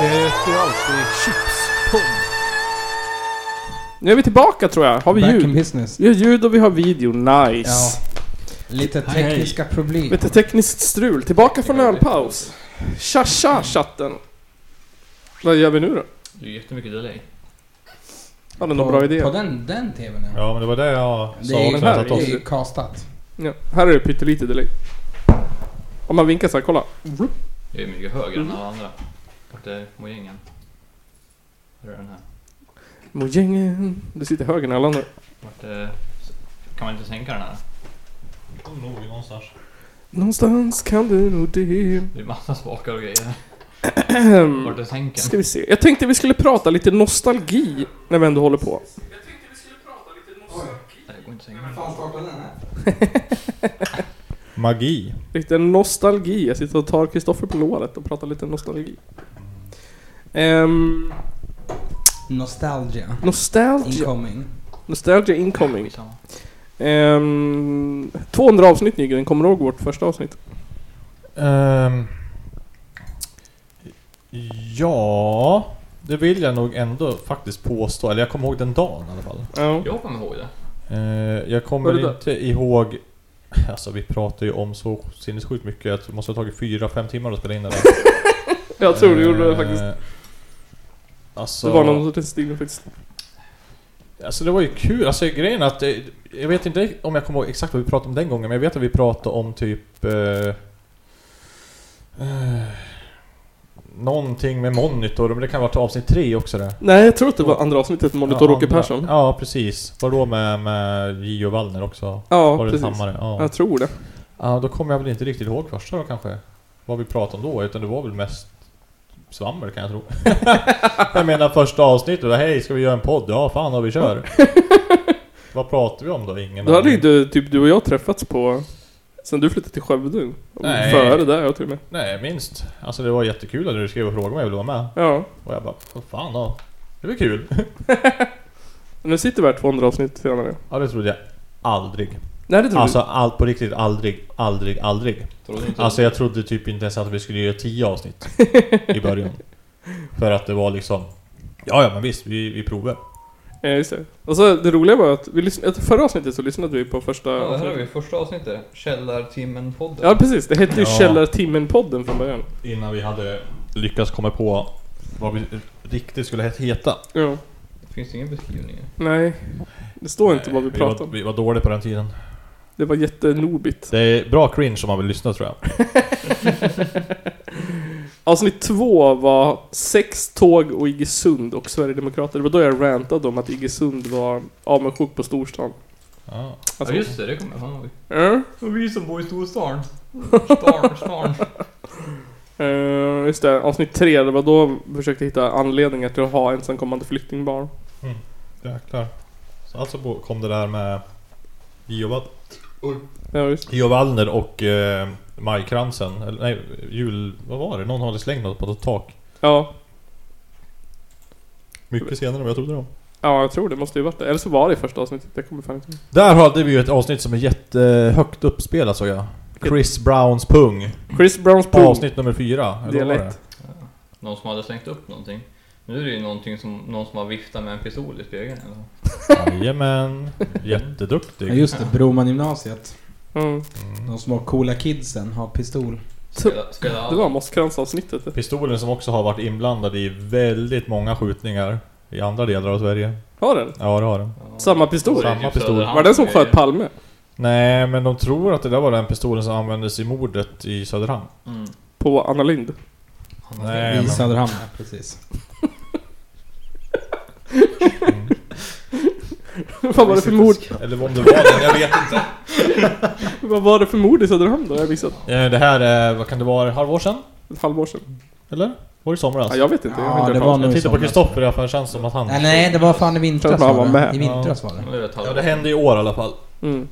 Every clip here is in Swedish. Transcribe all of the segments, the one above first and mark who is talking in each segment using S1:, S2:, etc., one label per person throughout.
S1: Det heter ju alltid chipspung.
S2: Nu är vi tillbaka tror jag. Har vi
S3: Back in
S2: ljud?
S3: business.
S2: Vi har ljud och vi har video. Nice.
S3: Ja. Lite
S1: Hej, hej.
S3: tekniska problem.
S2: Lite tekniskt strul. Tillbaka från ölpaus. Tja tja chatten. Vad gör vi nu då?
S4: Det är ju jättemycket delay.
S2: Har ni någon bra idé?
S3: På den, den tvn ja.
S5: Ja, men det var det jag
S3: Det
S5: sa
S3: är,
S5: också.
S2: den här
S5: att
S3: det
S5: jag
S3: är
S5: tar-
S3: ju castat.
S2: Ja. Här är det pyttelite delay. Om man vinkar så här, kolla. Vroom.
S4: Jag är mycket högre
S2: Mm.
S4: än alla andra. Vart är mojängen? Var är den här?
S2: Mojängen. Du sitter höger än alla andra.
S4: Vart är... Kan man inte sänka den här?
S5: Kom nog någonstans.
S2: Någonstans kan du nog det.
S4: Det är massa spakar och grejer. Vart är sänken?
S2: Ska vi se. Jag tänkte vi skulle prata lite nostalgi när vi ändå håller på.
S4: Nej, det går inte att sänka den.
S5: Magi.
S2: Lite nostalgi. Jag sitter och tar Kristoffer på låret och pratar lite nostalgi. Ehm,
S3: Nostalgia.
S2: nostalgia.
S3: Incoming.
S2: Nostalgia incoming.
S4: Skitsamma.
S2: Ehm, 200 avsnitt Nygren, kommer du ihåg vårt första avsnitt?
S5: Ehm, ja, det vill jag nog ändå faktiskt påstå. Eller jag kommer ihåg den dagen i alla fall.
S2: Ja.
S4: Jag kommer ihåg det.
S5: Eh, jag
S2: Var
S5: kommer
S2: det där?
S5: inte ihåg... Alltså vi pratar ju om så sinnessjukt mycket att det måste ha tagit 4-5 timmar att spela in det där.
S2: Jag tror du gjorde det
S5: Eh,
S2: faktiskt.
S5: Alltså,
S2: Det var någon sorts stil faktiskt.
S5: Alltså det var ju kul, alltså grejen är att eh, Jag vet inte om jag kommer ihåg exakt vad vi pratade om den gången men jag vet att vi pratade om typ eh, eh, Någonting med monitor, men det kan vara till avsnitt tre också det
S2: Nej, jag tror att det var andra avsnitet, Monitor Åke
S5: andra-
S2: Persson. Ja,
S5: Ja precis, var då med, med Gio Wallner också? var det
S2: precis.
S5: Hammare? Ja.
S2: Jag tror det.
S5: ja, då kommer jag väl inte riktigt ihåg första då kanske Vad vi pratade om då, utan det var väl mest Svammel kan jag tro Jag menar första avsnittet, hej ska vi göra en podd? Ja fan vad vi kör Vad pratar vi om då? Ingen
S2: Då hade
S5: aning.
S2: ju du, typ du och jag träffats på... Sen du flyttade till Skövde.
S5: Nej.
S2: Före där jag till och med.
S5: Nej, minst. Alltså det var jättekul att du skrev och frågade om jag ville vara med.
S2: Ja.
S5: Och jag bara, vad fan då? Det blir kul.
S2: Men Nu sitter vi här 200 avsnitt senare.
S5: Ja, det trodde jag aldrig.
S2: Nej, det tror
S5: Alltså all, på riktigt aldrig, aldrig, aldrig.
S4: Tror du inte?
S5: Alltså jag trodde typ inte ens att vi skulle göra tio avsnitt i början. För att det var liksom, ja ja men visst, vi, vi provar.
S2: du. Ja, just det. Och så det roliga var att vi lyssnade, att förra avsnittet så lyssnade vi på första...
S4: Ja, det här har
S2: avsnittet.
S4: vi första avsnittet. Källartimmen-podden.
S2: ja precis. Det hette ju
S5: Ja.
S2: Källartimmen-podden från början.
S5: Innan vi hade lyckats komma på vad vi riktigt skulle heta.
S2: Ja.
S4: Finns det ingen beskrivning?
S2: Nej. Det står inte vad vi pratar
S5: var,
S2: om.
S5: vi var dåliga på den tiden.
S2: Det var jättenobigt.
S5: Det är bra cringe om man vill lyssna tror jag.
S2: Avsnitt två var sex tåg och Iggesund och Sverigedemokrater. Det var då jag rantade om att Iggesund var avundsjuk på storstan.
S5: Ja.
S4: Ja
S2: Alltså,
S4: just det, det kommer jag ihåg.
S2: Ja,
S4: Och vi som bor i storstan. Stan, stan.
S2: eh, just det. Avsnitt tre, det var då jag försökte hitta anledningar till att ha ensamkommande flyktingbarn.
S5: Jäklar. Så alltså bo- kom det där med Gio Wall-
S2: Ja, just.
S5: Gio Wallner och eh, Majkransen, eller nej, jul... Vad var det? Någon hade slängt något på något tak.
S2: ja.
S5: Mycket senare än vad jag trodde det var.
S2: Ja, jag tror det måste ju varit det. Eller så var det i första avsnittet. Jag kommer fan inte ihåg.
S5: Där hade vi ju ett avsnitt som är jättehögt uppspelat såg jag. Chris Browns pung.
S2: Chris Browns pool.
S5: Avsnitt nummer fyra. Eller vad var det?
S2: Dialekt.
S4: Någon som hade slängt upp någonting. Nu är det ju någonting som, någon som har viftat med en pistol i spegeln eller?
S5: Jajamän.
S3: Ja,
S5: Jätteduktig.
S3: just det, Broman gymnasiet.
S2: Mm.
S5: Mm.
S3: De små coola kidsen har pistol.
S4: Spela, spela
S2: Det var Mosskrantz-avsnittet.
S5: Pistolen som också har varit inblandad i väldigt många skjutningar i andra delar av Sverige.
S2: Har den?
S5: Ja, det har den.
S4: Ja.
S2: Samma pistol?
S5: Samma
S4: Typ
S5: pistol.
S4: Söderhamn
S2: Var det den som
S4: grejer.
S2: sköt Palme?
S5: Nej, men de tror att det där var den pistolen som användes i mordet i Söderhamn.
S4: Mm.
S2: På Anna Lind
S5: Nej,
S3: I
S5: men-
S3: Söderhamn, ja, precis.
S2: Vad var det för mord?
S5: Eller om det var den, jag vet inte.
S2: Vad var det för mord i Söderhamn då? Jag har missat.
S5: Eh, Det här är, vad kan det vara, ett halvår sedan?
S2: Ett halvår sedan.
S5: Eller? Var det i somras?
S2: Ja, jag vet inte. Jag har
S3: Ja,
S2: inte
S3: det
S2: hört
S3: var
S2: talas om
S3: nog
S5: jag
S3: i
S5: tittar på
S3: somras.
S5: Kristoffer i alla fall, det känns som att han...
S3: Nej, nej, det var fan i vintras
S2: Tror att man
S3: var
S2: var
S3: det.
S2: med.
S3: I vintras var
S4: Det
S3: det.
S4: var ju ett
S5: Ja,
S4: halvår
S5: det hände i år i alla fall.
S2: det. Mm.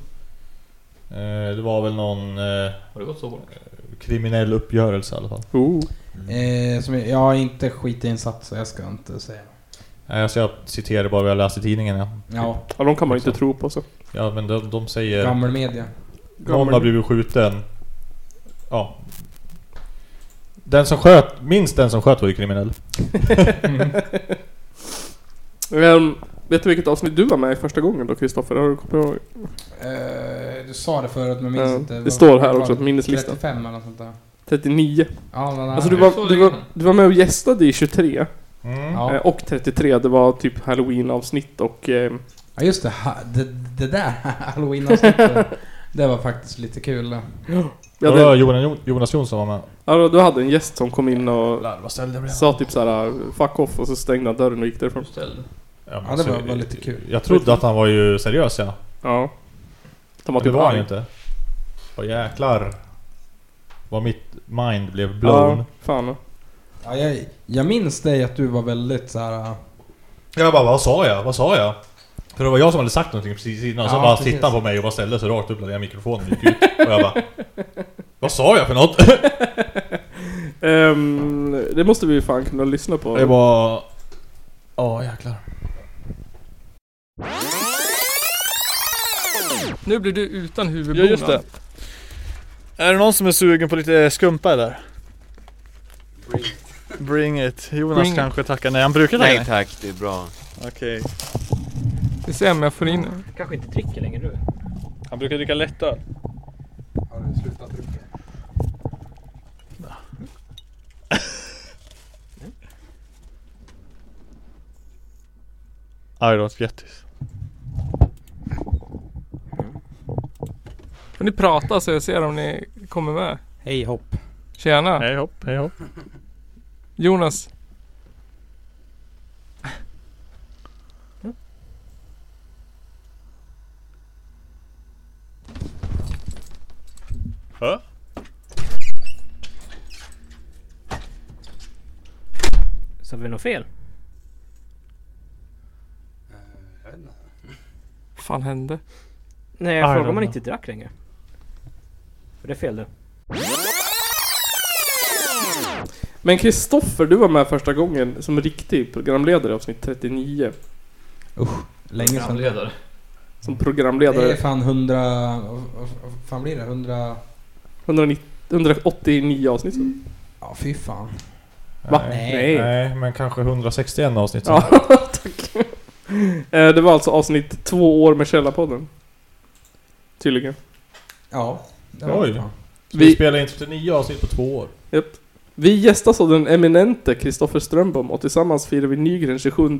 S5: Eh, Det var väl någon eh,
S4: Har det gått så fort?
S5: kriminell uppgörelse i alla fall.
S2: Oh.
S3: Eh, som jag, jag är inte skitinsatt så jag ska inte säga.
S5: Nej, Alltså jag citerar bara vad jag läste i tidningen. Ja,
S3: Ja,
S2: Ja, de kan man ju inte tro på så.
S5: ja men de, de säger...
S3: gammal media.
S5: Någon har blivit skjuten. Ja. Den som sköt, minst den som sköt var ju kriminell.
S2: Ehm, vet du vilket avsnitt du var med i första gången då Kristoffer? Har du kommit ihåg?
S3: Eh, du sa det förut men jag minns
S2: Ja,
S3: inte.
S2: det
S3: Vad-
S2: står här
S3: vad
S2: också,
S3: var det?
S2: minneslistan.
S3: 35 eller något sånt där.
S2: 39.
S3: Ja, men,
S2: Alltså du
S4: det är
S2: var,
S4: så
S2: du,
S4: länge
S2: var,
S4: sedan.
S2: du var med och gästade i 23
S5: Mm.
S3: ja.
S2: eh, och 33. Det var typ halloween-avsnitt och... Eh,
S3: ja just det. Ha, det, det där halloween-avsnittet. det var faktiskt lite kul. det.
S2: ja,
S5: det var
S2: det,
S5: Jonas, Jo- Jonas Jonsson var med.
S2: ja, då- du hade en gäst som kom in och
S5: Larva ställde jag blev.
S2: sa typ såhär 'fuck off' och så stängde han dörren och gick därifrån.
S4: Ställd.
S5: Ja, men
S3: Ja, det
S5: alltså,
S3: var- var lite kul.
S5: Jag trodde att han var ju seriös ja.
S2: Ja. De
S5: Men
S2: var
S5: det
S2: typ
S5: var han ju
S2: arg.
S5: inte. Vad jäklar. Vad mitt mind blev blown.
S2: Ja, fan.
S3: Ja, jag, jag minns dig att du var väldigt så här. äh,
S5: Jag bara, vad sa jag? Vad sa jag? För det var jag som hade sagt någonting precis innan, så
S3: Ja,
S5: bara
S3: precis.
S5: tittade han på mig och bara ställde sig rakt upp när jag mikrofonen gick ut. Och jag bara... Vad sa jag för något?
S2: Ehm, det måste vi ju fan kunna lyssna på.
S5: Jag bara... Ja, jäklar.
S6: Nu blir du utan huvudbonad.
S7: Ja just det. Är det någon som är sugen på lite skumpa där? Bring it. Jonas
S6: Bring it.
S7: kanske tackar nej. Han brukar tacka
S8: Nej
S7: nej.
S8: tack, det är bra.
S7: Okej.
S6: Vi ser om jag får in det.
S7: Kanske inte dricker längre du. Han brukar dricka lättöl.
S3: Har du slutat dricka?
S7: Aj då, fjättis.
S6: Får ni prata så jag ser om ni kommer med.
S3: Hej hopp.
S6: Tjena.
S7: Hej hopp, hej hopp.
S6: Jonas.
S7: Hä?
S9: Sa vi något fel?
S6: fan hände?
S9: Nej,
S7: I
S9: jag frågade
S7: don't
S9: om man
S7: know.
S9: inte drack längre. För det är fel det.
S2: Men Kristoffer, du var med första gången som riktig programledare i avsnitt 39.
S3: Länge sedan.
S4: Programledare.
S2: Som
S3: Det är
S2: programledare.
S3: fan 100... Vad fan blir det? 100...
S2: 190, 189 avsnitt. sen.
S3: Ja fy fan.
S2: Va?
S3: Nej.
S5: Nej, men kanske 161 avsnitt sen.
S2: Ja, tack. Eh, Det var alltså avsnitt två år med Källarpodden. Tydligen.
S3: Ja. det
S5: Oj.
S3: det fan.
S5: Så vi
S2: Vi-
S5: spelade in 39 avsnitt på två år.
S2: Vi gästas av den eminente Kristoffer Strömbom och tillsammans firar vi Nygrens 27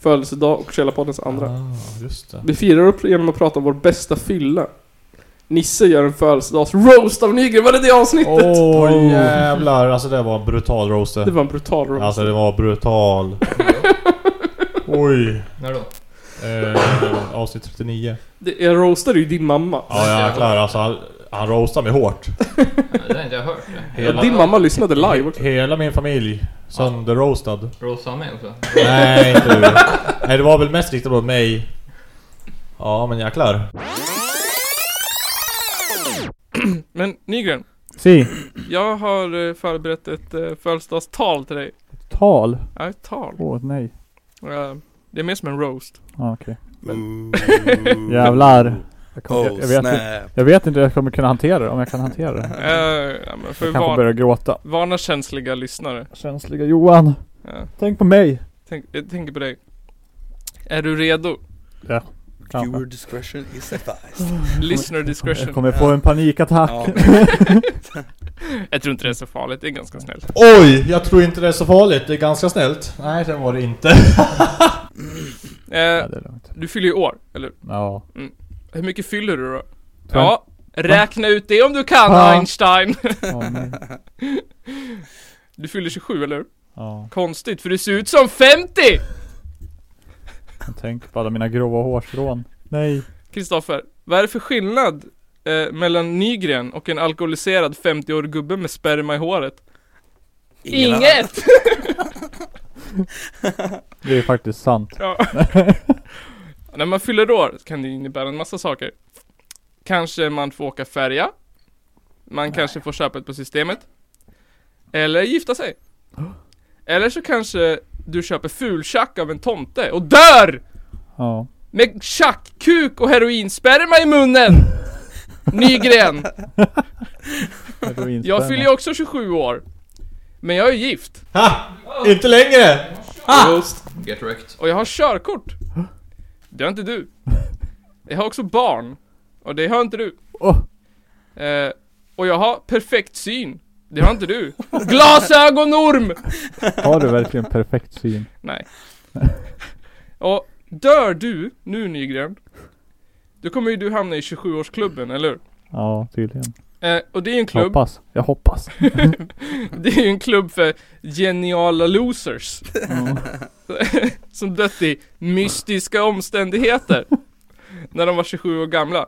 S2: födelsedag och Källarpoddens andra.
S5: Ah, just det.
S2: Vi firar upp genom att prata om vår bästa fylla. Nisse gör en födelsedags-roast av Nygren, var det det avsnittet?
S5: Åh jävlar, alltså det var en brutal roaster.
S2: Det var en brutal roast.
S5: Alltså det var brutal. Oj.
S4: När då?
S5: Eh, avsnitt 39.
S2: Det- Jag roastade ju din mamma.
S5: Ja jäklar, alltså han, han roastade mig hårt.
S4: Nej, Det har inte jag hört. det.
S5: Hela-
S2: Din mamma lyssnade live också.
S5: Hela min familj sönderroastad.
S4: Rosa alltså. mig också.
S5: Nej, inte du. Nej, det var väl mest riktat mot mig. Ja, men jäklar.
S6: Men Nygren.
S7: Si.
S6: Jag har eh, förberett ett eh, födelsedagstal till dig.
S7: Tal?
S6: Ja, ett tal.
S7: Åh nej.
S6: Eh, Det är mer som en roast.
S7: Ah, okej. Jävlar. Jag, kommer-
S6: Oh,
S7: jag, jag, vet
S3: Eh,
S7: inte, jag vet inte hur jag kommer kunna hantera det, om jag kan hantera det.
S6: Eh, ja, men för
S7: Jag kanske
S6: van,
S7: börjar gråta.
S6: vana känsliga lyssnare.
S7: Känsliga Johan,
S6: Ja,
S7: tänk på mig.
S6: tänk, jag tänker på dig. Är du redo?
S7: Kanske.
S8: discretion is
S6: Listener discretion.
S7: Jag kommer få en panikattack.
S6: Jag tror inte det är så farligt, det är ganska snällt.
S5: Oj, jag tror inte det är så farligt. Det är ganska snällt. Nej, det var det inte.
S6: Eh,
S7: Ja, det är lugnt.
S6: du fyller ju år, eller
S7: Ja.
S6: Hur mycket fyller du då?
S7: Tror jag-
S6: Ja, räkna ut det om du kan
S7: Ja.
S6: Einstein!
S7: Ja, nej.
S6: Du fyller 27 eller hur?
S7: ja.
S6: Konstigt, för du ser ut som 50!
S7: Men Tänk på alla mina gråa hårstrån. Nej.
S6: Kristoffer, vad är det för skillnad eh, mellan Nygren och en alkoholiserad 50-årig gubbe med sperma i håret? Inget!
S7: Det är faktiskt sant.
S6: Ja. När man fyller år kan det innebära en massa saker. Kanske man får åka färja. Man kanske får köpa ett på systemet. Eller gifta sig. Eller så kanske du köper fultjack av en tomte och dör!
S7: Ja.
S6: Med tjackkuk och heroinsperma i munnen! Nygren! Jag fyller ju också 27 år. Men jag är gift
S5: Ha! Inte längre!
S6: Eh,
S2: Just.
S4: Get wrecked.
S6: och jag har körkort. Det har inte du. Jag har också barn. Och det har inte du.
S7: Åh.
S6: Eh, och jag har perfekt syn. Det har inte du. Glasögonorm!
S7: Har du verkligen perfekt syn?
S6: Nej. Och dör du nu Nygren, då kommer ju du hamna i 27-årsklubben, eller hur?
S7: Ja, tydligen.
S6: Eh, och det är en klubb,
S7: Hoppas. Jag hoppas.
S6: det är ju en klubb för geniala losers.
S7: Mm.
S6: som dött i mystiska omständigheter. när de var 27 år gamla.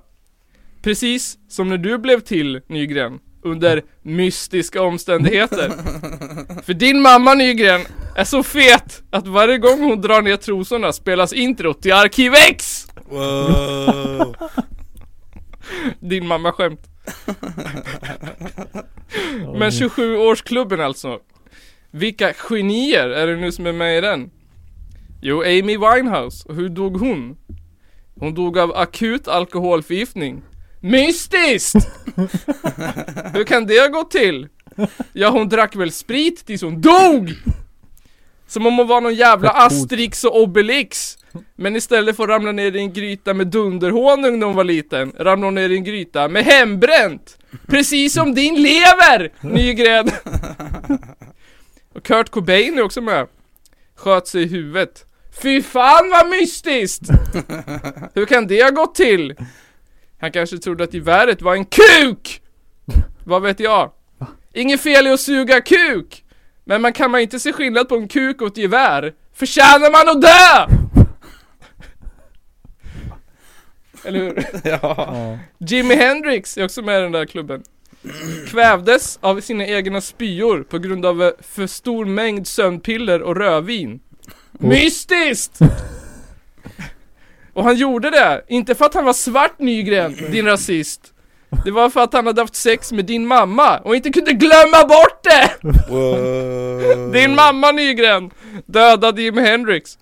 S6: Precis som när du blev till Nygren. Under mystiska omständigheter. För din mamma Nygren är så fet att varje gång hon drar ner trosorna spelas introt till Arkiv X!
S8: Wow.
S6: Din mamma skämt. Men 27-årsklubben alltså. Vilka genier är det nu som är med i den? Jo, Amy Winehouse. Och hur dog hon? Hon dog av akut alkoholförgiftning. Mystiskt! hur kan det ha gått till? Ja, hon drack väl sprit tills hon DOG! Som om hon var någon jävla Asterix och Obelix. Men istället för att ramla ner i en gryta med dunderhonung när hon var liten, ramlade hon ner i en gryta med hembränt! Precis som din lever! Nygren! Och Kurt Cobain är också med. Sköt sig i huvudet. Fy fan vad mystiskt! Hur kan det ha gått till? Han kanske trodde att geväret var en kuk! Vad vet jag? Inget fel i att suga kuk! Men man kan man inte se skillnad på en kuk och ett gevär? Förtjänar man att dö? Eller hur?
S7: Ja.
S6: Jimi Hendrix är också med i den där klubben. Kvävdes av sina egna spyor på grund av eh, för stor mängd sömnpiller och rödvin. Mystiskt! Och han gjorde det, inte för att han var svart Nygren, din rasist. Det var för att han hade haft sex med din mamma och inte kunde glömma bort det!
S8: Wow.
S6: Din mamma Nygren dödade Jimi Hendrix.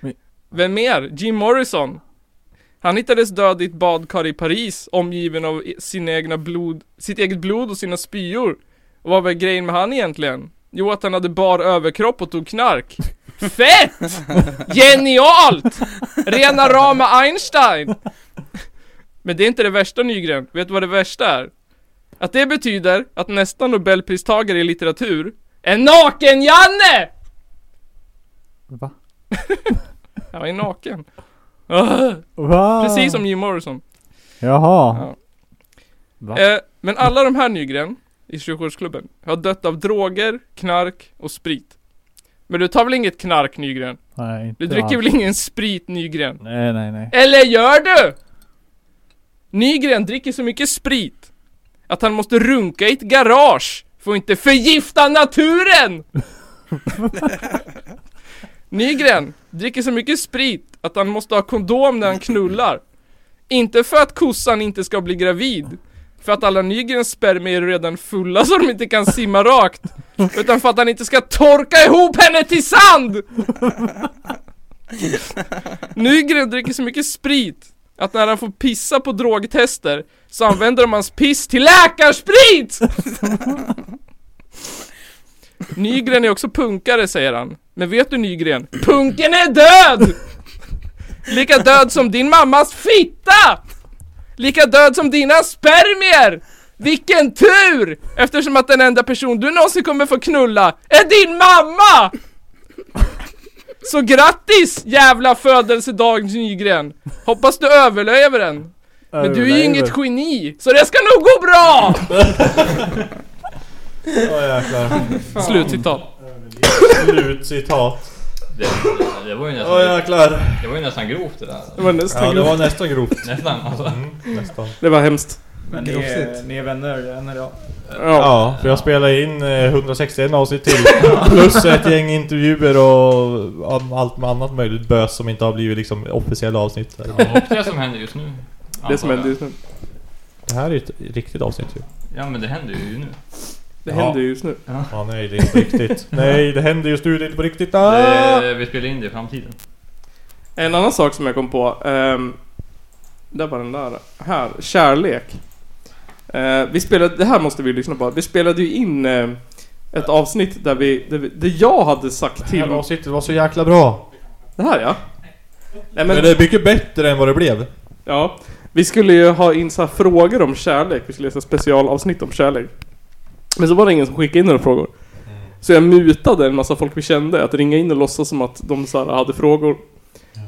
S7: Men-
S6: Vem mer? Jim Morrison. Han hittades död i ett badkar i Paris, omgiven av i- sina egna blod, sitt eget blod och sina spyor. Och vad var grejen med han egentligen? Jo, att han hade bar överkropp och tog knark. Fett! Genialt! Rena rama Einstein! Men det är inte det värsta Nygren, vet du vad det värsta är? Att det betyder att nästa nobelpristagare i litteratur är Naken-Janne!
S7: Va?
S6: Han var ju naken. Ah,
S7: Va?
S6: Precis som Jim Morrison.
S7: Jaha.
S9: Va?
S6: Eh, men alla de här Nygren i 27-årsklubben har dött av droger, knark och sprit. Men du tar väl inget knark Nygren?
S7: Nej, inte
S6: Du dricker
S7: alls.
S6: väl ingen sprit Nygren?
S7: Nej, nej, nej.
S6: Eller gör du? Nygren dricker så mycket sprit att han måste runka i ett garage för att inte förgifta naturen! Nygren dricker så mycket sprit att han måste ha kondom när han knullar. Inte för att kossan inte ska bli gravid, för att alla Nygrens spermier är redan fulla så de inte kan simma rakt, utan för att han inte ska torka ihop henne till sand! Nygren dricker så mycket sprit att när han får pissa på drogtester så använder de hans piss till läkarsprit! Nygren är också punkare säger han. Men vet du Nygren? Punken är död! Lika död som din mammas fitta! Lika död som dina spermier! Vilken tur! Eftersom att den enda person du någonsin kommer få knulla är din mamma! Så grattis jävla födelsedag Nygren! Hoppas du överlever den! Men du är ju inget geni, så det ska nog gå bra!
S5: Ja jäklar.
S6: Slutcitat.
S5: Slutcitat.
S4: Det, det, var ju
S5: Ja
S4: nästan,
S5: jäklar.
S4: det var ju nästan grovt det där.
S2: Det var nästan
S5: Ja det
S2: grovt.
S5: var nästan grovt.
S4: Nästan alltså.
S5: Mm, nästan.
S2: Det var hemskt.
S3: Men ni är-
S7: ni är vänner än idag?
S2: Ja.
S5: Ja, för jag spelade in eh, 161 avsnitt till. Plus ett gäng intervjuer och um, allt med annat möjligt bös som inte har blivit liksom officiella avsnitt.
S4: Ja, och det som händer just nu.
S2: Det som händer
S4: antar jag.
S2: just nu.
S5: Det här är ju ett riktigt avsnitt ju.
S4: Ja men det händer ju nu.
S2: Det
S5: Ja.
S2: händer ju just nu.
S5: Ja, nej det är inte riktigt. Nej, det händer just nu, det är inte på riktigt. Ah!
S4: Det, vi spelar in det i framtiden.
S2: En annan sak som jag kom på. ehm, där var den där. Här. Kärlek. Eh, vi spelade, det här måste vi lyssna på. Vi spelade ju in eh, ett avsnitt där vi, där vi... Där jag hade sagt
S5: Det här
S2: till...
S5: avsnittet var så jäkla bra!
S2: Det här ja. Nej,
S5: Men det är mycket bättre än vad det blev.
S2: Ja. Vi skulle ju ha in så här frågor om kärlek. Vi skulle läsa specialavsnitt om kärlek. Men så var det ingen som skickade in några frågor. Så jag mutade en massa folk vi kände att ringa in och låtsas som att de så här hade frågor.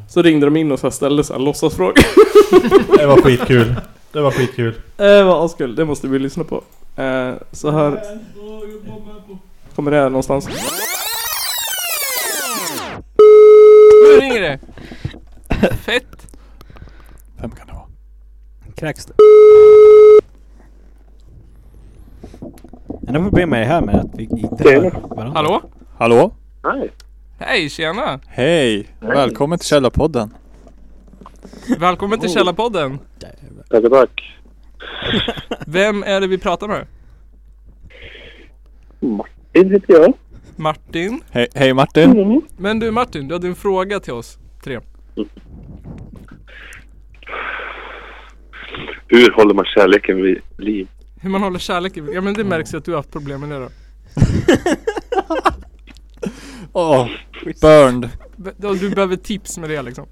S2: Så ringde de in och så här ställde så här låtsasfrågor.
S5: Det var skitkul. Det var skitkul.
S2: Eh, vad askul, det måste vi lyssna på. Eh, så här... Kommer det här någonstans?
S6: Nu ringer det! Fett!
S7: Vem kan det vara?
S9: Kräks det?
S7: Enda problemet är det här med att vi inte hör varandra.
S6: Hallå?
S7: Hallå?
S6: Hej, tjena!
S7: Hej! Välkommen till Källarpodden.
S6: Välkommen
S2: Oh.
S6: till Källarpodden!
S10: Tackar, tack.
S6: Vem är det vi pratar med?
S10: Martin heter jag.
S6: Martin?
S7: Hej, hej Martin!
S6: Men du Martin, du hade en fråga till oss tre.
S10: Hur håller man kärleken vid liv?
S6: Hur man håller kärleken? Ja men det märks ju att du har haft problem med det då.
S7: Åh, burned!
S6: Be- ja, Du behöver tips med det liksom.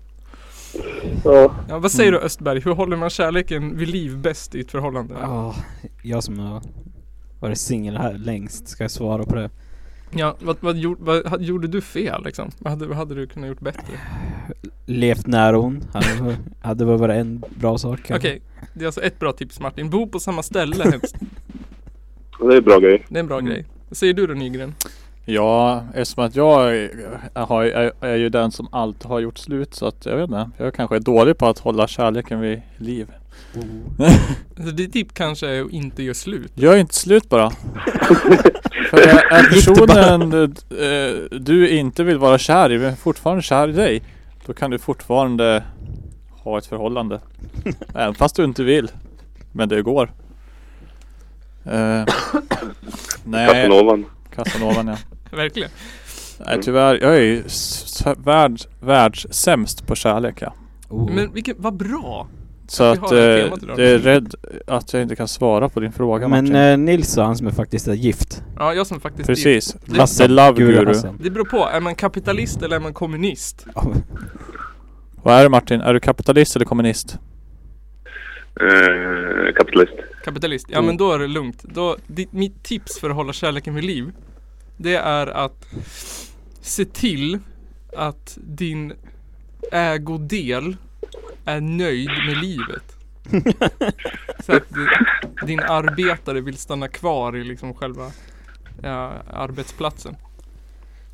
S10: Ja,
S6: Ja, vad säger du Östberg? Hur håller man kärleken vid liv bäst i ett förhållande?
S11: Ja, jag som har varit singel här längst, ska jag svara på det?
S6: Ja, vad, vad, gjorde, vad ha- gjorde du fel liksom? Vad hade, vad hade du kunnat gjort bättre?
S11: Levt nära hon, hade, hade väl varit en bra sak kanske.
S6: Okej, det är alltså ett bra tips Martin. Bo på samma ställe helst.
S10: det är en bra grej.
S6: Det är en bra grej. Vad säger du då Nygren?
S7: Ja, eftersom att jag är- har, är, är ju den som alltid har gjort slut så att jag vet inte. Jag kanske är dålig på att hålla kärleken vid liv.
S6: Alltså, ditt tips kanske är att inte göra slut.
S7: Gör inte slut bara. För är är personen eh, du inte vill vara kär i, men fortfarande kär i dig. Då kan du fortfarande ha ett förhållande. Även fast du inte vill. Men det går. Eh, nej,
S10: Casanovan.
S7: Casanovan ja.
S6: Verkligen.
S7: Nej tyvärr, jag är ju s- s- värld, världssämst på kärlek ja.
S11: Oh.
S6: Men vilken, vad bra!
S7: Så
S6: vi
S7: att
S6: har det temat
S7: eh,
S6: idag.
S7: jag är rädd att jag inte kan svara på din fråga
S11: Men
S7: Martin.
S11: eh, Nils då, han som är faktiskt är gift.
S6: Ja, jag som faktiskt
S7: Precis,
S6: det-
S7: Lasse Love
S11: Guru
S7: Guru.
S11: Hassan.
S6: Det beror på, är man kapitalist eller är man kommunist?
S7: Vad är du Martin? Är du kapitalist eller kommunist?
S10: Eh, kapitalist.
S6: Kapitalist, ja men då är det lugnt. Då, ditt, mitt tips för att hålla kärleken vid liv Det är att se till att din ägodel är nöjd med livet. Så att di- din arbetare vill stanna kvar i liksom själva ja, arbetsplatsen.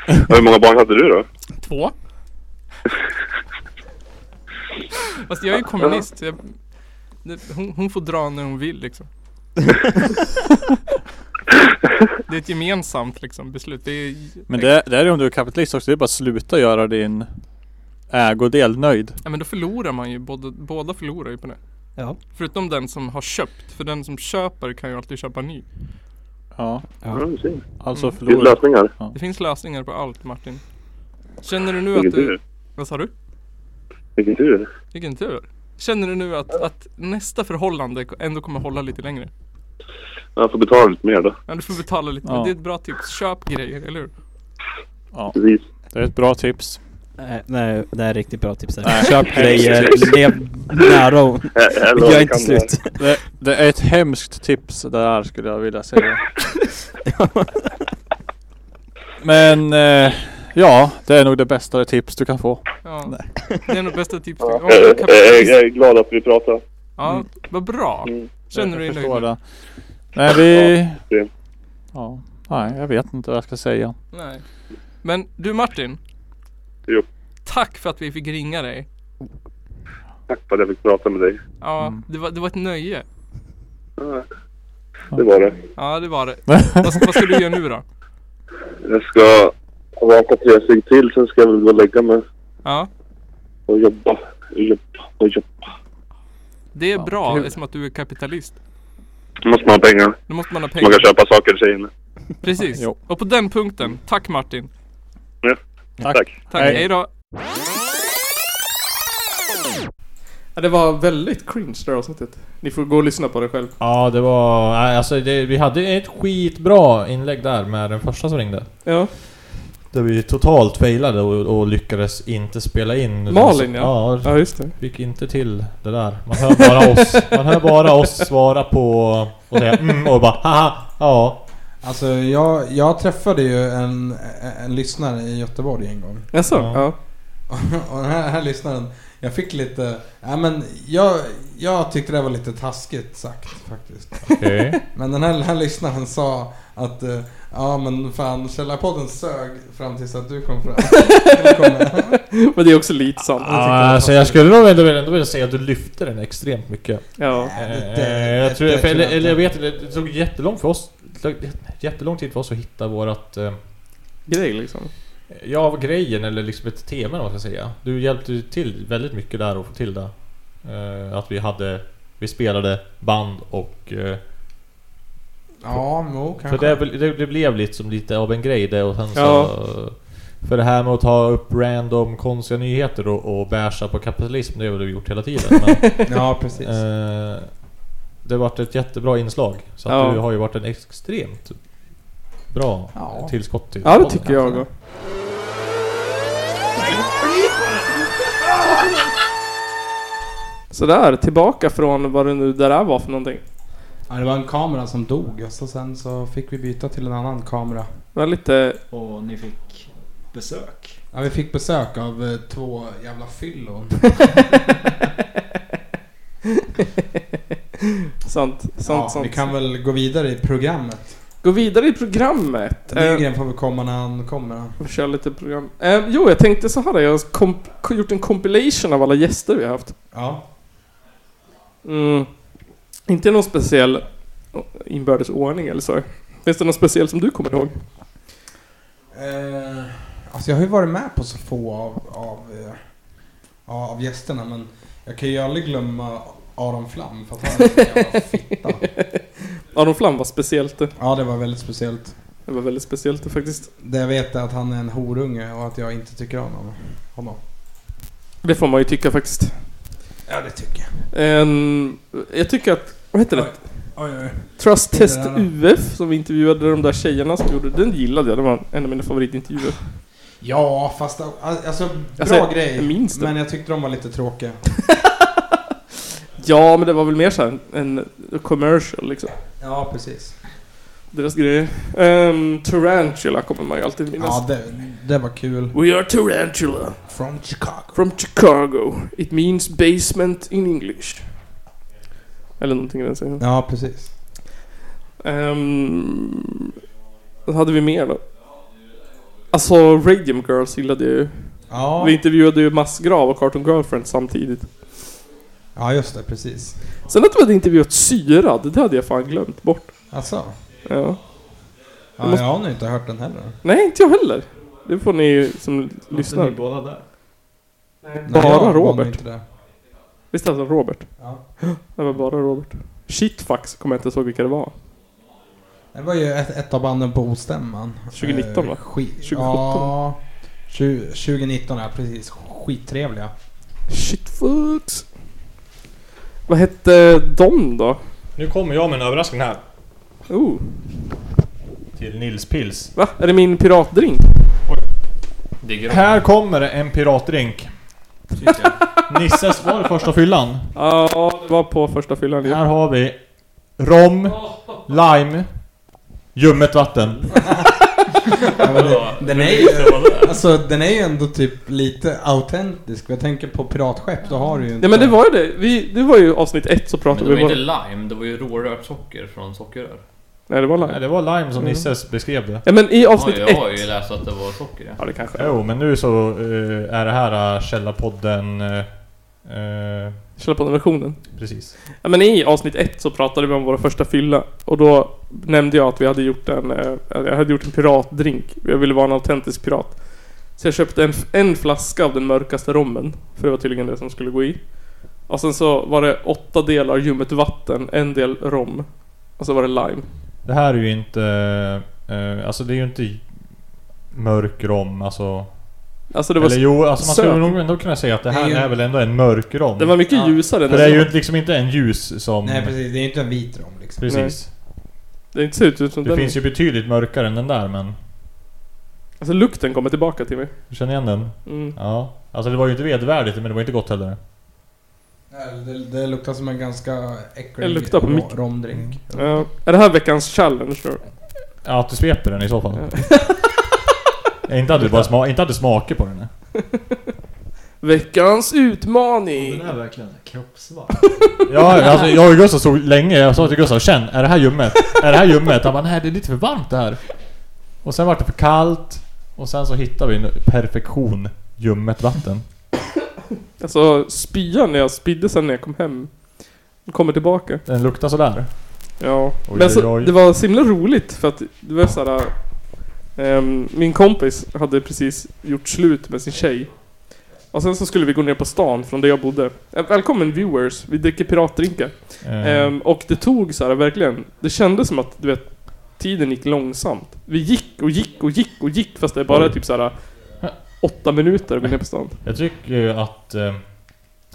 S10: Hur många barn hade du då?
S6: Två. Fast jag är ju kommunist. så Jag, det, hon, hon får dra när hon vill liksom. det är ett gemensamt liksom, beslut. Det är,
S7: Men det, det är ju om du är kapitalist också, det är bara att sluta göra din ägodel nöjd.
S6: ja, men då förlorar man ju. Båda, båda förlorar ju på det.
S11: Ja.
S6: Förutom den som har köpt. För den som köper kan ju alltid köpa ny.
S7: Ja,
S10: Ja, du ser.
S7: alltså
S6: Mm.
S10: Det finns
S7: förlora.
S10: lösningar.
S6: Det finns lösningar på allt Martin. Känner du nu
S10: Vilken
S6: att du...
S10: tur.
S6: Vad sa du?
S10: Vilken tur.
S6: Vilken tur. Känner du nu att, att nästa förhållande ändå kommer hålla lite längre?
S10: Jag får betala lite mer då.
S6: Ja, du får betala lite. men
S7: Ja.
S6: Det är ett bra tips. Köp grejer, eller hur?
S10: Precis.
S7: Det är ett bra tips.
S11: Eh, nej, det är riktigt bra tips där.
S7: Nej.
S11: Köp grejer, lev nära hon.
S10: Ä- eller vad
S11: Gör
S10: det
S11: inte
S10: kan
S11: slut.
S7: Det, det är ett hemskt tips det där skulle jag vilja säga. Men eh, ja, det är nog det bästa tips du kan få.
S6: Ja. Det är nog bästa tipset.
S10: vara.
S6: Om
S10: Eh,
S6: du är
S10: eh,
S6: kapitalist-
S10: Jag är glad att vi pratar.
S6: Ja, vad bra.
S10: Mm.
S6: Känner du
S7: jag
S6: dig
S7: förstår
S6: nöjd? nu?
S7: det. Nej vi...
S10: det.
S7: Ja, nej jag vet inte vad jag ska säga.
S6: Nej. Men du Martin.
S10: Jo.
S6: Tack för att vi fick ringa dig.
S10: Tack för att jag fick prata med dig.
S6: Ja,
S7: Mm.
S6: det, var, det var ett nöje.
S10: Ja, Det var det.
S6: Ja, det var det. vad, vad ska du göra nu då?
S10: Jag ska raka tre steg till, sen ska jag väl gå och lägga mig
S6: Ja,
S10: och jobba. Jobba och jobba.
S6: det är bra
S7: kul.
S6: eftersom att du är kapitalist.
S10: Då måste man ha pengar.
S6: Då måste man ha
S10: Man
S6: pengar.
S10: kan köpa saker till sig inne.
S6: Precis.
S7: Jo.
S6: Och på den punkten, tack Martin.
S10: Tack.
S6: Tack,
S7: Hej.
S6: hej då.
S2: Ja, det var väldigt cringe det här avsnittet. Ni får gå och lyssna på det själv.
S5: Ja, det var... nej, Alltså, det, vi hade ett skitbra inlägg där med den första som ringde.
S2: Ja.
S5: Där vi totalt failade och, och lyckades inte spela in.
S2: Malin, ja.
S5: Ja,
S2: Ja, just det.
S5: Fick inte till det där. Man hör bara oss. Man hör bara oss svara på... Och säga mm och bara haha, ja.
S3: Alltså jag, jag träffade ju en, en lyssnare i Göteborg en gång.
S2: Jaså? Ja.
S3: Och den här, här lyssnaren, jag fick lite... Ja, men jag, jag tyckte det var lite taskigt sagt faktiskt.
S5: Okej.
S3: Men den här, den här lyssnaren sa att eh, ja men fan Källarpodden sög fram tills att du kom fram. Du kom med.
S2: Men det är också lite sant.
S5: Ja, alltså jag skulle nog ändå, ändå vilja säga att du lyfte den extremt mycket.
S2: Ja.
S5: Eh, jag tror, för, eller, eller jag vet inte, det tog jättelångt för oss, det tog jättelång tid för oss att hitta vårat... Eh,
S2: Grej liksom.
S5: ja, vad grejen eller liksom ett tema eller vad man ska säga. Du hjälpte ju till väldigt mycket där och få till det. Eh, att vi hade, vi spelade band och... Eh,
S3: Ja, jo
S5: för
S3: kanske.
S5: det, bl- det, det blev liksom lite av en grej det och sen så...
S2: Ja.
S5: För det här med att ta upp random konstiga nyheter och, och basha på kapitalism, det har du gjort hela tiden. Men,
S3: Ja precis.
S5: Eh, det vart ett jättebra inslag. Så att
S2: Ja.
S5: du har ju varit en extremt bra
S3: Ja.
S5: tillskott till
S2: Ja, det
S5: podden.
S2: tycker jag också. Sådär, tillbaka från vad det nu det där var för någonting.
S3: Ja, det var en kamera som dog och så sen så fick vi byta till en annan kamera.
S2: Det var lite...
S12: Och ni fick besök.
S3: Ja, vi fick besök av eh, två jävla fyllon.
S2: sant, sant,
S3: ja,
S2: sant.
S3: Vi kan väl gå vidare i programmet.
S2: Gå vidare i programmet. Eh,
S3: Nygren får väl komma när han kommer.
S2: Vi kör lite program. Eh, jo, jag tänkte så här. Jag har komp- gjort en compilation av alla gäster vi har haft.
S3: Ja.
S2: Mm. Inte någon speciell inbördes ordning eller så. Finns det någon speciell som du kommer ihåg?
S3: Eh, alltså jag har ju varit med på så få av, av, eh, ja, av gästerna men jag kan ju aldrig glömma Aron Flam för att han är en jävla fitta.
S2: Aron Flam var speciellt. det.
S3: Ja, det var väldigt speciellt.
S2: Det var väldigt speciellt det faktiskt.
S3: Det jag vet är att han är en horunge och att jag inte tycker om honom.
S2: Det får man ju tycka faktiskt.
S3: Ja, det tycker jag.
S2: En, jag tycker att, vad heter det?
S3: Oj, oj.
S2: Trust
S3: Det
S2: Test
S3: där,
S2: UF som vi intervjuade de där tjejerna som gjorde, den gillade jag. Det var en av mina favoritintervjuer.
S3: Ja, fast alltså bra
S2: Alltså,
S3: grej.
S2: jag minns det.
S3: men jag tyckte de var lite tråkiga.
S2: Ja, men det var väl mer såhär en en commercial liksom.
S3: Ja, precis.
S2: Deras grejer. Ehm, tarantula kommer man ju alltid minnas.
S3: Ja, det, det var kul.
S2: We are Tarantula
S3: From Chicago.
S2: from Chicago. It means basement in English. Eller någonting i den stilen.
S3: Ja, precis.
S2: Ehm, vad hade vi mer då? Alltså, Radium Girls gillade jag ju.
S3: Ja,
S2: Vi intervjuade ju Massgrav och Cartoon Girlfriend samtidigt.
S3: ja just det, precis.
S2: Sen att vi hade intervjuat Syrad, det hade jag fan glömt bort.
S3: Alltså,
S2: Ja.
S3: ja,
S2: måste-
S3: jag har nog inte hört den heller.
S2: Nej, inte jag heller. Det får ni som lyssnar.
S12: ni båda där?
S3: Nej, jag
S2: Bara
S3: var nog
S2: Robert.
S3: inte det.
S2: Visst hette han Robert?
S3: Ja.
S2: Det var bara Robert. Shitfax kommer jag inte ihåg vilka det var.
S3: Det var ju ett, ett av banden på Ostämman.
S2: 2019, va?
S3: skit-
S2: 2017.
S3: Ja, tju- 2019 ja, precis. Skittrevliga.
S2: Shitfax. Vad hette de då?
S5: Nu kommer jag med en överraskning här.
S2: Oh,
S5: Till Nils Pils.
S2: va? Är det min piratdrink?
S4: Digger om.
S5: Här kommer en piratdrink. Nisses var det första fyllan.
S2: Ja, det var på första fyllan. Ja.
S5: Här har vi rom, lime, ljummet vatten.
S3: Ja, men
S4: Ja,
S3: det- den, är ju, alltså, den är ju ändå typ lite autentisk. Jag tänker på piratskepp, då har du ju inte...
S2: Nej men det var ju det. Vi, det var ju avsnitt ett så
S4: Men
S2: pratade
S4: det
S2: vi
S4: var
S2: bara...
S4: inte lime, det var ju rårört socker från sockerrör.
S2: Nej det var
S5: Nej,
S2: live.
S5: det var lime som
S2: Mm.
S5: Nisses beskrev det.
S2: Ja men i
S4: Ja,
S2: avsnitt
S4: jag har ju
S2: ett.
S4: läst att det var socker ja.
S2: Ja det kanske är.
S5: Jo, men nu så eh, är det här uh, Källarpodden... eh, eh,
S2: Källa på den versionen.
S5: precis.
S2: Ja, men i avsnitt ett så pratade vi om vår första fylla och då nämnde jag att vi hade gjort en, eh, jag hade gjort en piratdrink. Jag ville vara en autentisk pirat. Så jag köpte en, en flaska av den mörkaste rommen, för det var tydligen det som skulle gå i. Och sen så var det åtta delar ljummet vatten, en del rom. Och så var det lime.
S5: Det här är ju inte... eh, alltså det är ju inte mörk rom, alltså...
S2: Alltså det var
S5: Eller jo, alltså man
S2: söt.
S5: skulle nog ändå kunna säga att det här
S2: Det är ju-
S5: är väl ändå en mörk rom.
S2: Den var mycket Ja. ljusare än
S5: För det är
S2: den
S5: ju
S2: som-
S5: inte- liksom inte en ljus som...
S3: Nej precis, det är inte en vit rom liksom.
S5: Precis.
S2: Det inte ser ut som
S5: Det
S2: den.
S5: finns ju betydligt mörkare än den där men...
S2: Alltså lukten kommer tillbaka till mig.
S5: Du känner igen den?
S2: Mm.
S5: Ja. Alltså det var ju inte vedervärdigt men det var inte gott heller.
S3: Nej, Det, det luktar som en ganska äcklig
S2: Jag luktar på
S3: ro-
S2: mycket.
S3: romdrink.
S2: Ja. Är det här veckans challenge tror du?
S5: Ja, att du sveper den i så fall. inte att du bara sma- inte att du smakar på den. nej.
S2: Veckans utmaning!
S12: Den är verkligen kroppsvarm.
S5: Ja, alltså jag och Gustav såg länge, jag sa till Gustav 'Känn, är det här ljummet? Är det här ljummet?' Han bara 'Nej, det är lite för varmt det här' Och sen vart det för kallt Och sen så hittade vi en perfektion Ljummet vatten
S2: Alltså spyan när jag spydde sen när jag kom hem. Kommer tillbaka.
S5: Den luktar sådär
S2: Ja.
S5: Oj,
S2: Men
S5: oj,
S2: så,
S5: oj.
S2: det var så himla roligt för att det var såhär... ehm, min kompis hade precis gjort slut med sin tjej. Och sen så skulle vi gå ner på stan från där jag bodde. Eh, Välkommen viewers, vi dricker piratdrinkar.
S5: Eh.
S2: Ehm, och det tog så här verkligen, det kändes som att du vet, tiden gick långsamt. Vi gick och gick och gick och gick fast det är bara
S5: Oj.
S2: typ så här åtta minuter att gå ner på stan.
S5: Jag tycker ju att eh,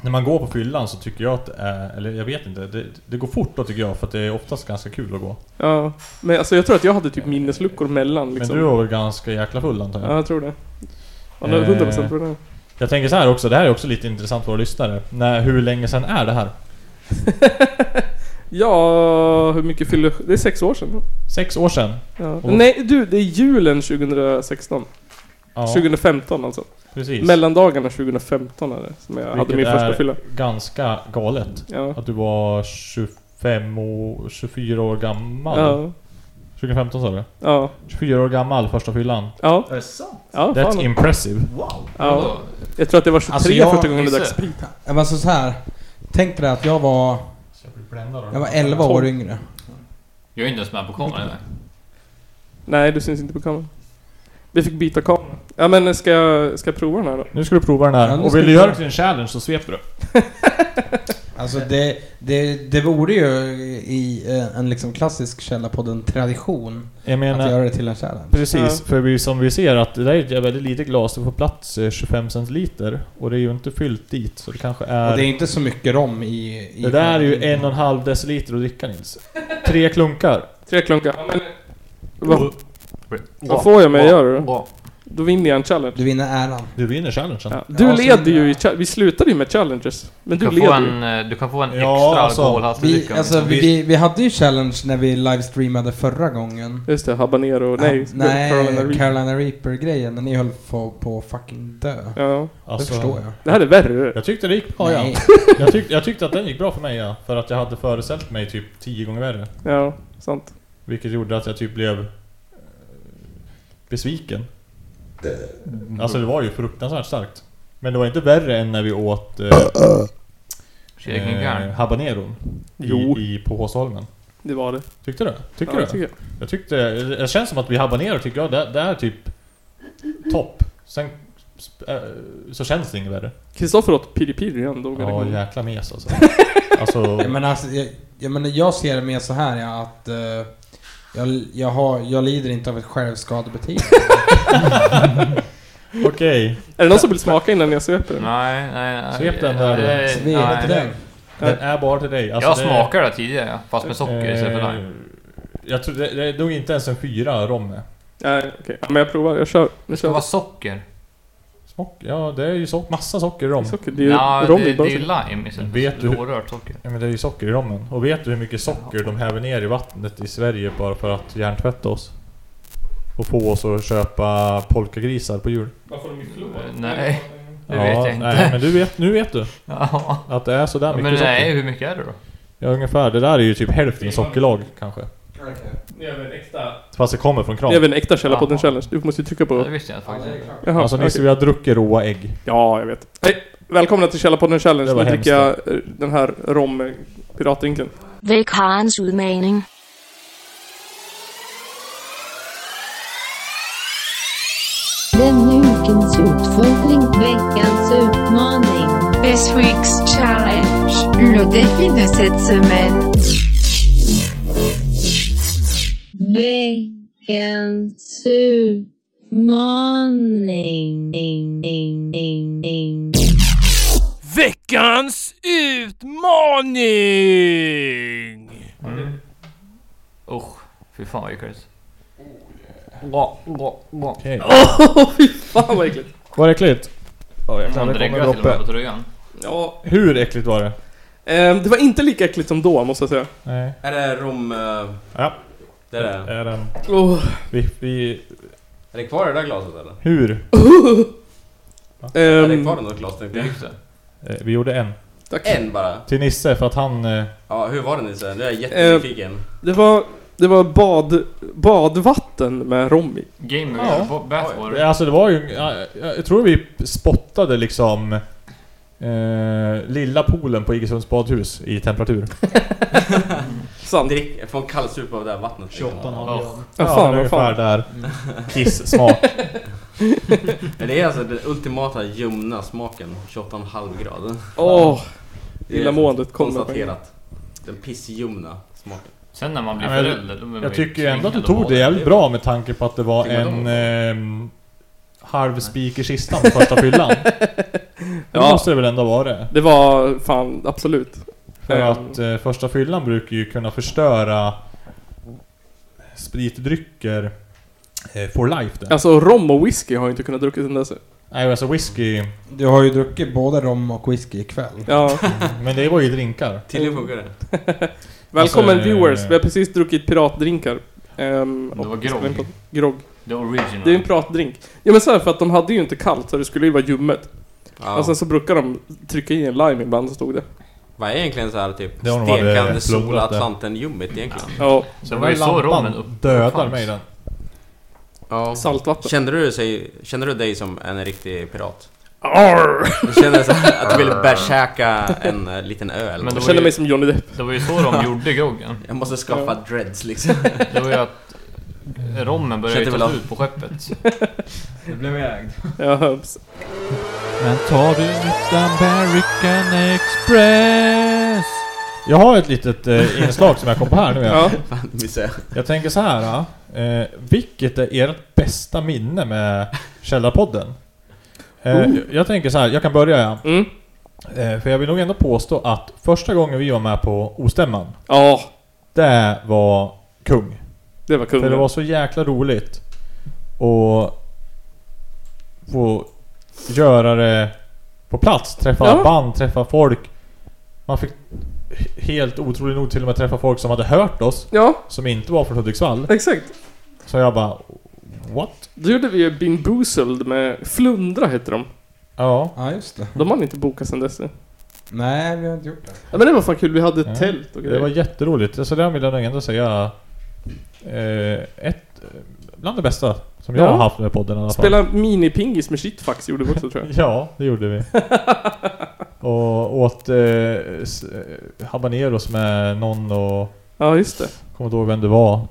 S5: När man går på fyllan så tycker jag att det är, Eller jag vet inte, det, det går fort då tycker jag för att det är oftast ganska kul att gå
S2: Ja, men alltså jag tror att jag hade typ minnesluckor mellan liksom.
S5: Men du var väl ganska jäkla full antar jag?
S2: Ja, jag tror det. Ja, det-
S5: Eh.
S2: 100% tror jag det.
S5: Jag tänker så här också, det här är också lite intressant för våra lyssnare. När, hur länge sedan är det här?
S2: Ja, hur mycket fyller... Det är sex år sedan.
S5: Sex år sedan?
S2: Ja.
S5: Och-
S2: Nej, du, det är julen 2016.
S5: Ja.
S2: 2015 alltså.
S5: Precis.
S2: Mellandagarna 2015 är det, som jag hade min första
S5: är
S2: fylla.
S5: ganska galet.
S2: Ja.
S5: Att du var 25 och 24 år gammal.
S2: Ja.
S5: 2015 sa du?
S2: Ja.
S5: 24 år gammal, första fyllan.
S2: Ja.
S12: Är det sant?
S2: Ja,
S5: That's
S2: fan.
S5: impressive.
S12: Wow.
S2: Ja. Jag tror att det var 23
S12: Alltså,
S2: första gången jag drack sprit.
S3: Ja, men alltså så så här. Tänk dig att jag var... Jag var 11 år
S2: Tolv.
S3: yngre.
S4: Jag är inte ens med på kameran eller?
S2: Nej, du syns inte på kameran. Vi fick byta kamera. Ja men ska jag, ska jag prova den här då?
S5: Nu ska du prova den här.
S3: Ja, nu
S5: och
S3: ska
S5: vill
S3: vi
S5: du göra
S3: prova.
S5: det till en challenge så sveper du.
S3: Alltså det, det, det vore ju i eh, en liksom klassisk källarpodden tradition
S5: Jag menar-
S3: att göra det till en challenge.
S5: Precis, för vi, som vi ser att det där är ett väldigt litet glas. Det får plats eh, 25 centiliter. Och det är ju inte fyllt dit, så det kanske är...
S3: Och det är inte så mycket rom i... i
S5: Det där är ju en och en halv deciliter att dricka Nils. Tre klunkar.
S2: Tre klunkar. Ja, men, vad, vad får jag mig att göra då? Då vinner jag en challenge.
S3: Du vinner äran.
S5: Du vinner challengen.
S2: Ja, du leder ju i cha- Vi slutade ju med challenges. Men du,
S4: Du kan få
S2: leder ju.
S4: en, eh, du kan få en
S5: Ja,
S4: extra
S5: alltså,
S4: alkoholhaltig
S3: Vi,
S4: dryck om-
S3: alltså, vi, vi, vi hade ju challenge när vi livestreamade förra gången.
S2: Just det, habanero. Nej,
S3: Ja, nej
S2: Carolina Reaper.
S3: Carolina Reaper-grejen när ni höll på, på att fucking dö.
S2: Ja.
S3: det förstår jag.
S2: Det här är värre.
S5: Jag tyckte det gick bra Alltså, ja.
S3: Nej.
S5: jag, tyckte, jag tyckte att den gick bra för mig ja. För att jag hade föreställt mig typ tio gånger värre.
S2: Ja, sant.
S5: Vilket gjorde att jag typ blev eh, besviken. Alltså det var ju fruktansvärt starkt. Men det var inte värre än när vi åt eh,
S4: Shaking Garn.
S5: eh, habaneron.
S2: Jo.
S5: I, i, på Håsholmen.
S2: Det var det.
S5: Tyckte du? Tycker
S2: Ja,
S5: du?
S2: det tycker jag.
S5: jag tyckte... eh, Det känns som att vi habanero tycker jag, det, det är typ topp. Sen sp- eh, så känns det inget värre.
S2: Kristoffer åt piripiri igen. Dog
S5: Ja,
S2: han.
S5: jäkla mes alltså. alltså
S3: Nej, men alltså, jag, jag, menar, jag ser det mer så här ja, att eh, jag, jag, har, jag lider inte av ett självskadebeteende.
S5: Okej.
S2: Är det någon som vill smaka innan jag sveper den?
S4: Nej, nej, nej.
S5: Svep den där,
S4: Nej,
S5: du.
S4: nej.
S5: Svep den. Den är bara till dig. Alltså,
S4: jag
S5: det-
S4: smakade det tidigare, fast med socker istället för
S5: Eh,
S4: lime.
S5: Jag tror det, det är nog inte ens en fyra romme.
S2: Nej, okej. Ja, men jag provar. Jag kör. Jag kör.
S4: Det var socker.
S5: Socker? Ja, det är ju sock, massa socker i rom.
S2: Socker, det är ju
S4: Ja,
S2: rom
S4: det-
S2: i bara
S4: det är ju
S2: socker.
S4: lime istället för
S5: Vet du,
S4: rårört socker.
S5: Ja, men det är ju socker i rommen. Och vet du hur mycket socker de häver ner i vattnet i Sverige bara för att hjärntvätta oss? Och få oss att köpa polkagrisar på jul?
S2: Varför har de ju
S4: Eh, Nej, det
S5: Ja,
S4: vet jag inte.
S5: Nej, men du vet, nu vet du.
S4: Ja.
S5: Att det är sådär
S4: Ja,
S5: mycket
S4: men
S5: socker.
S4: nej, hur mycket är det då?
S5: Ja, ungefär. Det där är ju typ hälften sockerlag kanske.
S2: Nu gör vi en äkta...
S5: Fast det kommer från kran.
S2: Nu gör vi en äkta källarpodden challenge. Du måste ju trycka på...
S4: Ja, det visste jag inte faktiskt.
S2: Jaha,
S5: alltså Nisse,
S2: okej.
S5: vi har druckit råa ägg.
S2: Ja, jag vet. Hej! Välkomna till Källarpodden Challenge.
S5: Det
S2: Nu
S5: var
S2: dricker jag eh, den här rom-piratdrinken.
S13: Veckans utmaning.
S14: Den ukens utfordring, veckans utmaning. This week's challenge. Le défi de cette semaine. Veckans Maning. Ding, ding, ding, ding.
S15: Veckans utmaning!
S4: Mm. Usch, fy fan vad äckligt. Bra, bra, bra.
S5: Okej.
S2: Åh, fy fan vad äckligt.
S5: Var det äckligt? Oh,
S4: Hon dreggar till och med på tröjan.
S2: Ja.
S5: Hur äckligt var det?
S2: Ehm, det var inte lika äckligt som då, måste jag säga.
S5: Nej.
S16: Är Er det rom... eh,
S5: Ja.
S16: Det är det.
S5: Är den.
S2: Åh.
S5: Vi, vi...
S16: Är det kvar i det där glaset eller?
S5: Hur?
S2: Ehm,
S16: Är det kvar i något glas tänkte jag?
S5: Eh, Vi gjorde en.
S16: Tack. En bara?
S5: Till Nisse för att han... eh,
S16: Ja, hur var det Nisse? Jag är jättenyfiken.
S2: Ehm, det var, det var bad, badvatten med rom i.
S4: Gamer,
S5: Ja.
S4: Bathwater.
S5: Eh, Alltså det var ju... ja, Jag, jag tror vi spottade liksom... Eh, lilla poolen på Iggesunds badhus i temperatur.
S2: Sant.
S16: Drick, få en kallsup av det här vattnet. 28
S5: Ja, fan, vad fan. där. Kiss-smak.
S16: det är alltså den ultimata ljumna smaken. 28,5 grader.
S2: Åh,
S16: Det är
S2: illamåendet kommer på en
S16: Konstaterat. Den pissljumna smaken.
S4: Sen när man
S5: Ja, men jag, jag tycker ju ändå att du tog det jävligt bra med tanke på att det var
S16: Tvingad
S5: en ehm, halv spik i kistan på första fyllan. Det måste det väl ändå vara det?
S2: Det var fan, absolut.
S5: För
S2: Ehm,
S5: att eh, första fyllan brukar ju kunna förstöra spritdrycker eh, for life där.
S2: Alltså rom och whisky har jag inte kunnat druckit sen dess.
S5: Nej, alltså whisky...
S3: Du har ju druckit både rom och whisky ikväll.
S5: Mm.
S2: Ja.
S5: Men det var ju drinkar.
S16: Tydligen funkar det.
S2: Välkommen
S5: Alltså, eh,
S2: viewers, vi har precis druckit piratdrinkar. Ehm,
S4: Det var
S2: och-
S4: grogg.
S2: Grogg.
S4: The original.
S2: Det är en piratdrink. Ja men så här, för att de hade ju inte kallt så det skulle ju vara ljummet.
S16: Ja.
S2: Och sen Alltså, så brukar de trycka i en lime ibland så stod det.
S16: Vad är egentligen så här typ
S2: Det har nog varit
S16: stekande sol
S2: plundrat det.
S16: Atlanten-ljummet egentligen?
S2: Ja.
S4: Så det var ju så rommen upp- uppfanns.
S16: Ja.
S2: Saltvatten.
S16: Kände du, sig, kände du dig som en riktig pirat?
S2: Arr!
S16: Du kände så här att du ville bärsärka en eh, liten ö eller
S4: Men det
S16: något?
S4: var ju-
S2: Depp.
S4: Det var ju så de gjorde groggen.
S16: Jag måste skaffa
S4: Ja.
S16: dreads liksom.
S4: Det var ju att rommen började ju
S16: Kände
S4: ta
S16: väl
S4: slut på skeppet.
S12: Det blev ägd.
S2: Ja,
S5: Men tar du utan American Express? Jag har ett litet eh, inslag som jag kom på här nu.
S16: Ja. Fan, det missade
S5: jag tänker så här. Eh, vilket är ert bästa minne med Källarpodden? Eh,
S2: Oh.
S5: Jag tänker så här, jag kan börja ja.
S2: Mm.
S5: Eh, för jag vill nog ändå påstå att första gången vi var med på Ostämman.
S2: Ja.
S5: Det var kung.
S2: Det var kung,
S5: För det
S2: ja.
S5: var så jäkla roligt. Och få göra det på plats. Träffa
S2: Ja.
S5: band, träffa folk. Man fick he- helt otroligt nog till och med träffa folk som hade hört oss. Som inte var från Hudiksvall.
S2: Exakt.
S5: Så jag bara... What?
S2: Då gjorde vi ju Bean Boozled med Flundra heter de.
S5: Ja.
S3: Ja, just det.
S2: De hann inte boka sen dess. Ja,
S3: Nej, vi har inte gjort det.
S2: men det var fan kul, vi hade ett
S5: Ja.
S2: tält och
S5: Det
S2: grejer.
S5: var jätteroligt. Så det vill jag nog ändå säga... Eh, ett... Bland det bästa som jag
S2: Ja.
S5: har haft med podden i alla fall.
S2: Spela minipingis med shitfax gjorde vi också tror jag.
S5: Ja, det gjorde vi. och åt eh, s- eh, habaneros med någon och...
S2: Ja, just det.
S5: Kommer inte ihåg vem det var.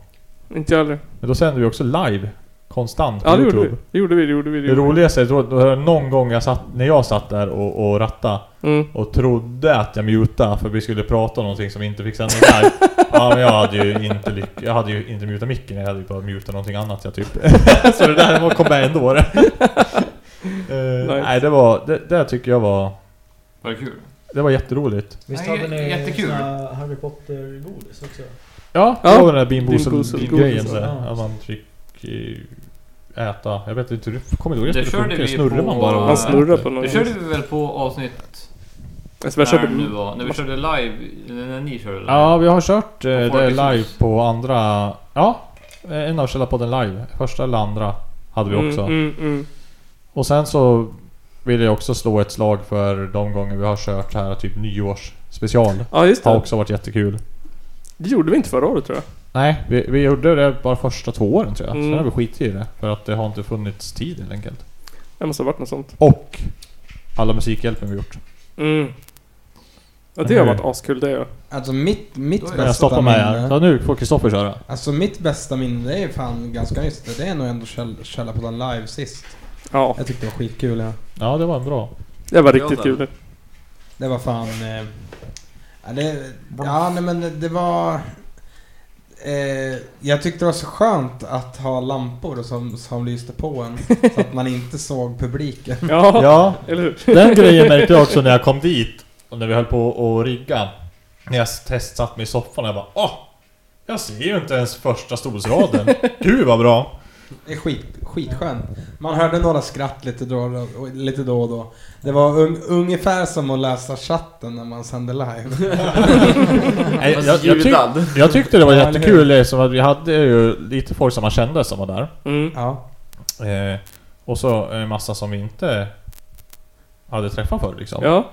S2: Inte jag heller.
S5: Men då sände vi också live. Konstant på
S2: Ja, det gjorde vi.
S5: Youtube.
S2: Det gjorde vi, det gjorde vi.
S5: Det roligaste, jag tror att det var någon gång jag satt, när jag satt där och, och rattade
S2: Mm.
S5: och trodde att jag mutade för vi skulle prata om någonting som vi inte fick sända live. ja, men jag hade ju inte lyck Jag hade ju inte mutat micken, jag hade ju bara mutat någonting annat jag typ. Så det där var- kom med ändå. det. Eh,
S4: Nice.
S5: Nej, det var... Det, det tycker jag var...
S4: Var det kul?
S5: Det var jätteroligt.
S12: Visst
S4: Nej,
S12: hade ni
S4: jättekul.
S12: såna Harry Potter-godis också?
S5: Ja, det
S2: Ja.
S5: var den där Bean
S2: Bean Boozled
S5: Boozled-grejen
S2: godis,
S5: där.
S2: ja.
S5: Att man fick eh, äta. Jag vet inte, hur det- kommer du ihåg hur
S4: Det
S5: det skulle
S4: körde
S5: funka?
S4: vi
S5: Snurrar
S4: på...
S5: man bara? och-
S2: Man snurrar på något
S4: Det körde vi väl på avsnitt...
S2: Alltså, vi körde-
S4: När, nu var, när vi körde live, eller när ni körde live.
S5: Ja, vi har kört eh,
S4: Och folk
S5: det
S4: liksom-
S5: live på andra... Ja, eh, en av Källarpodden live. Första eller andra hade vi
S2: Mm,
S5: också.
S2: mm, mm.
S5: Och sen så vill jag också slå ett slag för de gånger vi har kört här, typ nyårsspecial.
S2: Ja, just det.
S5: Har också varit jättekul.
S2: Det gjorde vi inte förra året tror jag.
S5: Nej, vi, vi gjorde det bara första två åren tror jag.
S2: Mm.
S5: Sen har vi skitit i det. För att det har inte funnits tid helt enkelt.
S2: Det måste ha varit något sånt.
S5: Och alla Musikhjälpen vi gjort.
S2: Mm. Ja, det har varit askul det ja.
S3: Alltså mitt, mitt
S5: Jag stoppar mig här. Så nu får Kristoffer köra.
S3: Alltså mitt bästa minne, det är fan ganska nyss. Det är nog ändå Käll- Källarpodden live sist.
S2: Ja.
S3: Jag tyckte det var skitkul ja.
S5: Ja, det var bra.
S2: Det var riktigt kul.
S3: Det var fan... Eh, ja, det, ja, nej men det var... eh, jag tyckte det var så skönt att ha lampor som, som lyste på en så att man inte såg publiken.
S5: Den grejen märkte jag också när jag kom dit och när vi höll på att rigga. När jag testsatt mig i soffan och jag bara åh! Jag ser ju inte ens första stolsraden. Gud vad bra!
S3: Det är skit, skitskönt. Man hörde några skratt lite då och då. och Lite då, och då. Det var un, ungefär som att läsa chatten när man sände live.
S5: Nej, jag, jag, tyck, jag tyckte det var jättekul liksom, att vi hade ju lite folk som man kände som var där.
S2: Mm.
S3: Ja.
S5: Eh, och så en massa som vi inte hade träffat förr liksom.
S2: Ja.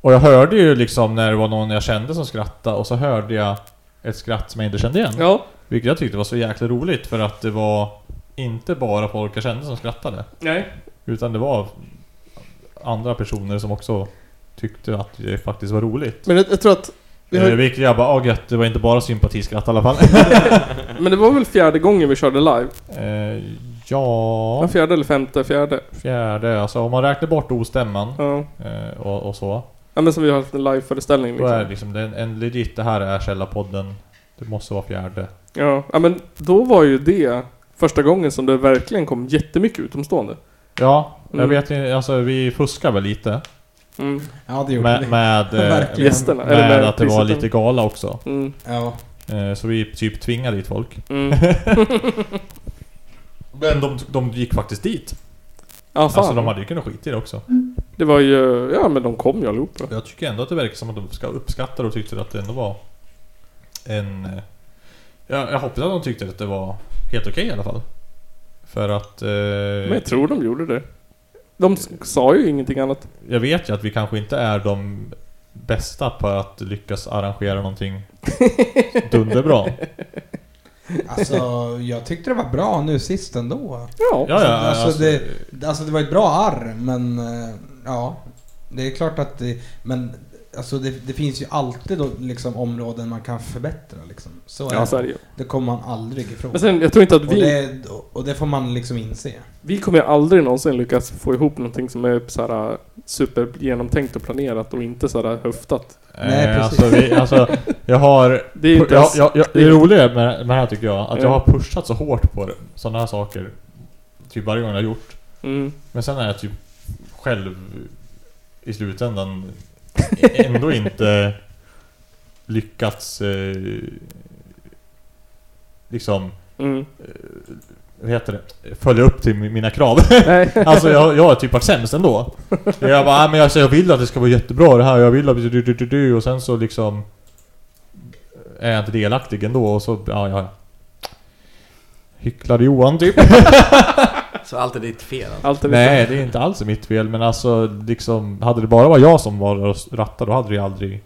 S5: Och jag hörde ju liksom när det var någon jag kände som skrattade och så hörde jag ett skratt som jag inte kände igen.
S2: Ja.
S5: Vilket jag tyckte var så jäkla roligt för att det var inte bara folk jag kände som skrattade.
S2: Nej.
S5: Utan det var andra personer som också tyckte att det faktiskt var roligt.
S2: Men jag, jag tror att... vi har-
S5: Eh, Vilket jag bara, åh gött, det var inte bara sympatiskratt i alla fall.
S2: Men det var väl fjärde gången vi körde live?
S5: Eh, ja...
S2: Fjärde eller femte? Fjärde?
S5: Fjärde, alltså om man räknar bort ostämman
S2: Ja.
S5: eh, och, och så.
S2: Ja men som vi har haft en liveföreställning
S5: Då
S2: liksom.
S5: är det liksom, det är en, en legit, det här är Källarpodden. Det måste vara fjärde.
S2: Ja, ja, men då var ju det första gången som det verkligen kom jättemycket utomstående.
S5: Ja, jag
S2: Mm.
S5: vet inte, alltså vi fuskar väl lite.
S2: Mm.
S3: Ja, det gjorde
S5: med,
S3: vi.
S5: med, eh,
S3: Verkligen.
S2: Gästerna,
S5: med,
S2: eller med
S5: att det var
S2: priset.
S5: lite gala också.
S2: Mm.
S3: Ja.
S5: Eh, Så vi typ tvingade dit folk.
S2: Mm.
S5: Men de, de gick faktiskt dit.
S2: Ja, fan.
S5: Alltså de hade ju kunnat skita i det också.
S2: Det var ju, ja men de kom ju allihopa.
S5: Jag tycker ändå att det verkar som att de ska uppskatta det och tyckte att det ändå var en... eh, Jag, jag hoppas att de tyckte att det var helt okej i alla fall. För att... Eh,
S2: Men jag tror de gjorde det. De s- sa ju ingenting annat.
S5: Jag vet ju att vi kanske inte är de bästa på att lyckas arrangera någonting dunderbra.
S3: Alltså, jag tyckte det var bra nu sist ändå.
S2: Ja.
S5: Ja, ja,
S3: alltså,
S5: alltså-
S3: det, alltså det var ett bra arr, men eh, ja. Det är klart att det, men alltså det, det finns ju alltid då, liksom, områden man kan förbättra. Liksom. Så
S2: Ja, så är det ju.
S3: det kommer man aldrig ifrån.
S2: Men sen, jag tror inte att
S3: Och
S2: vi-
S3: det, och det får man liksom inse.
S2: Vi kommer ju aldrig någonsin lyckas få ihop någonting som är så här supergenomtänkt och planerat och inte så här äh, höftat.
S5: Eh, Alltså, vi, alltså, jag har...
S2: Det är inte
S5: jag,
S2: ens-
S5: jag, jag, det roliga med, med det här tycker jag, att
S2: Ja.
S5: jag har pushat så hårt på sådana här saker. Typ varje gång jag har gjort.
S2: Mm.
S5: Men sen är jag typ själv i slutändan ändå inte lyckats eh, liksom
S2: Mm.
S5: eh, vad heter det? Följa upp till mi- mina krav. alltså jag, jag har typ varit sämst ändå. Jag bara, "Nej, men alltså, jag vill att det ska vara jättebra det här, jag vill att du, du, du, du, du och sen så liksom eh, är jag inte delaktig ändå och så, ja ja. Hycklade Johan typ.
S16: Så allt är ditt fel alltså.
S5: Nej, det är inte alls mitt fel men alltså liksom, hade det bara varit jag som var och rattade då hade det ju aldrig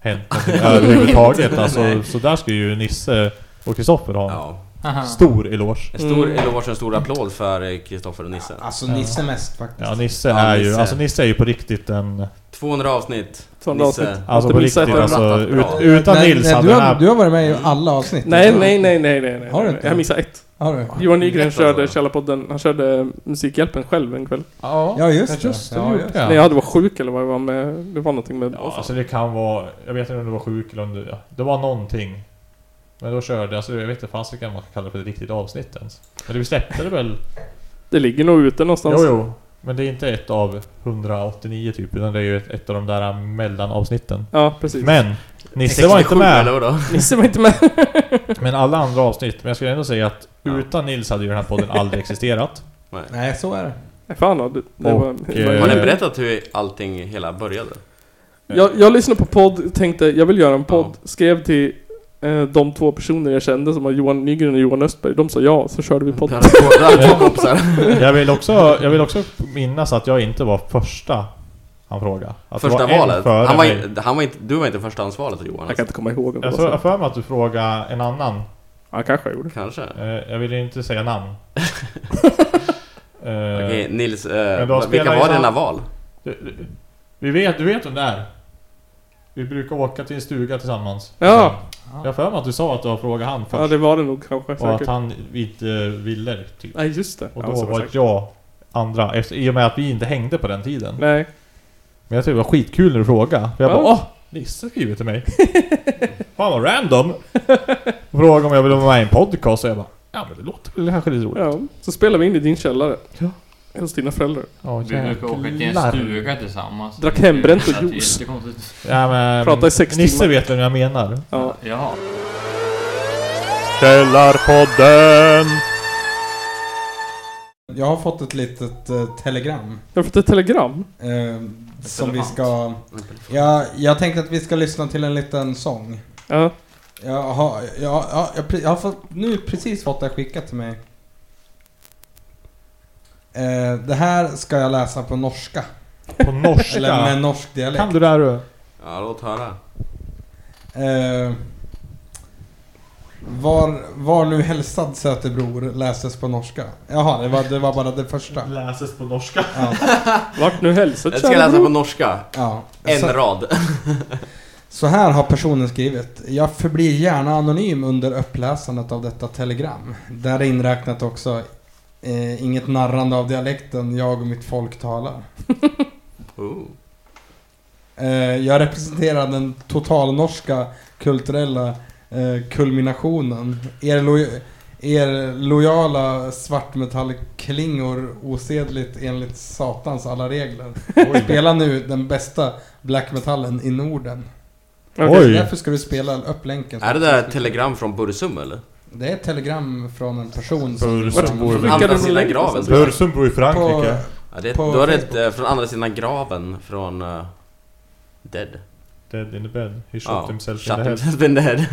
S5: hänt någonting överhuvudtaget. Alltså,
S16: Nej.
S5: så där ska ju Nisse och Kristoffer ha en
S16: Aha.
S5: stor eloge.
S16: En stor
S2: Mm.
S16: eloge och en stor applåd för eh, Kristoffer och Nisse.
S3: Alltså Nisse mest faktiskt.
S5: Ja, Nisse är ju, alltså Nisse är ju på riktigt en...
S16: 200 avsnitt.
S5: 200
S16: Nisse.
S5: avsnitt. Alltså, på riktigt, alltså, ut- utan
S3: nej,
S5: Nils
S3: nej,
S5: hade
S3: du,
S5: den här-
S3: har, du har varit med i alla avsnitt.
S2: Nej, nej, nej, nej, nej, nej.
S3: Har du inte?
S2: Jag missade ett.
S3: Har du?
S2: Johan Nygren körde Källarpodden, han körde äh, Musikhjälpen själv en kväll.
S5: Ja,
S3: Ja, just det. Ja,
S2: gjorde
S5: just
S2: jag.
S5: det.
S2: När jag hade varit sjuk eller vad det var med, det var någonting med...
S5: Ja, alltså det kan vara... Jag vet inte om du var sjuk eller om du... Ja, det var någonting. Men då körde jag, alltså jag vet inte fasiken om man kan kalla det för ett riktigt avsnitt ens. Eller vi släppte det väl?
S2: Det ligger nog ute någonstans.
S5: Jo, jo. Men det är inte ett av 189 typ, utan det är ju ett, ett av de där mellanavsnitten.
S2: Ja, precis.
S5: Men! Nisse var inte
S16: 67
S5: med!
S16: eller vadå?
S2: Nisse var inte med.
S5: men alla andra avsnitt. Men jag skulle ändå säga att utan Nils hade ju den här podden aldrig existerat.
S3: Nej, så är det.
S2: Nej, Fan vad du- det
S5: Och,
S2: var, det var-
S5: eh,
S16: Har ni berättat hur allting hela började?
S2: Jag, jag lyssnade på podd, tänkte jag vill göra en podd, skrev till eh, de två personer jag kände som var Johan Nygren och Johan Östberg, de sa ja, så körde vi podd.
S5: jag, vill också, jag vill också minnas att jag inte var första han frågade. Att det
S16: Första
S5: var en
S16: valet?
S5: före
S16: Han var,
S5: mig.
S16: inte- han var inte, du var inte förstahandsvalet Johan?
S2: Jag kan inte komma ihåg om det
S5: Jag
S2: var
S5: tror jag
S2: så.
S5: har för mig att du frågade en annan.
S2: Ja, kanske jag gjorde.
S16: Kanske.
S5: Eh, Jag vill ju inte säga namn. Eh,
S16: Okej, Nils, eh,
S5: men de
S16: vilka
S5: spelar ju
S16: var
S5: sam-
S16: dina val?
S5: Du, du, vi vet, du vet vem det är? Vi brukar åka till en stuga tillsammans. Eh,
S2: Ja.
S5: Jag har för mig att du sa att du har frågat han först.
S2: Ja, det var det nog kanske.
S5: Och att
S2: säkert.
S5: han inte ville det, typ.
S2: Nej, just det.
S5: Och
S2: Ja,
S5: då
S2: så var det
S5: var
S2: säkert.
S5: jag andra, efter, i och med att vi inte hängde på den tiden.
S2: Nej.
S5: Men jag tyckte det var skitkul när du frågade. För jag
S2: Ja.
S5: bara åh, Nisse skriver till mig. Fan vad random! och frågade om jag ville vara med i en podcast och jag bara Ja men det låter väl kanske lite roligt.
S2: Ja, så spelar vi in i din källare. Ja. Hos dina föräldrar.
S5: Ja,
S4: Vi brukar åka till en
S5: Jävlar.
S4: stuga tillsammans.
S2: Drack hembränt och
S4: Det är
S2: juice.
S4: jättekonstigt.
S5: Ja, men,
S2: Prata i sex
S5: Nisse
S2: timmar.
S5: vet vem jag menar.
S2: Ja.
S4: Jaha.
S5: Källarpodden!
S3: Jag har fått ett litet eh, telegram. eh,
S2: Jag har fått ett telegram?
S3: som vi ska... Ja, jag tänkte att vi ska lyssna till en liten sång.
S2: Ja.
S3: Jag har, jag, har- jag, pre- jag har fått, nu precis fått det skickat till mig. Eh, det här ska jag läsa på norska.
S5: På norska?
S3: Eller med norsk dialekt.
S5: Kan du det här du?
S16: Ja, låt höra.
S3: Eh, var, var nu hälsad söte bror läses på norska. Jaha, det var, det var bara det första.
S5: Läses på norska.
S3: Ja.
S2: Vart nu hälsad
S16: Jag ska läsa på norska.
S3: Ja.
S16: En
S3: Så-
S16: rad.
S3: Så här har personen skrivit. Jag förblir gärna anonym under uppläsandet av detta telegram. Där är inräknat också eh, inget narrande av dialekten jag och mitt folk talar.
S16: Oh.
S3: Eh, jag representerar den totalnorska kulturella eh, kulminationen. Er, lo- er lojala svartmetallklingor osedligt enligt satans alla regler. Spela nu den bästa black metallen i Norden.
S16: Oj.
S3: Så Därför ska du spela upp länken.
S16: Är det där ett telegram från Bursum eller?
S3: Det är ett telegram från en person
S16: Bursum bor i andra sidan graven.
S3: På-
S16: ja, det,
S3: på
S16: då är det ett,
S3: Facebook.
S16: eh, från andra sidan graven från... eh, dead.
S5: Dead in the bed. He shot
S16: Ja,
S5: himself
S16: shot
S5: in the
S16: himself
S5: head.
S16: in the head.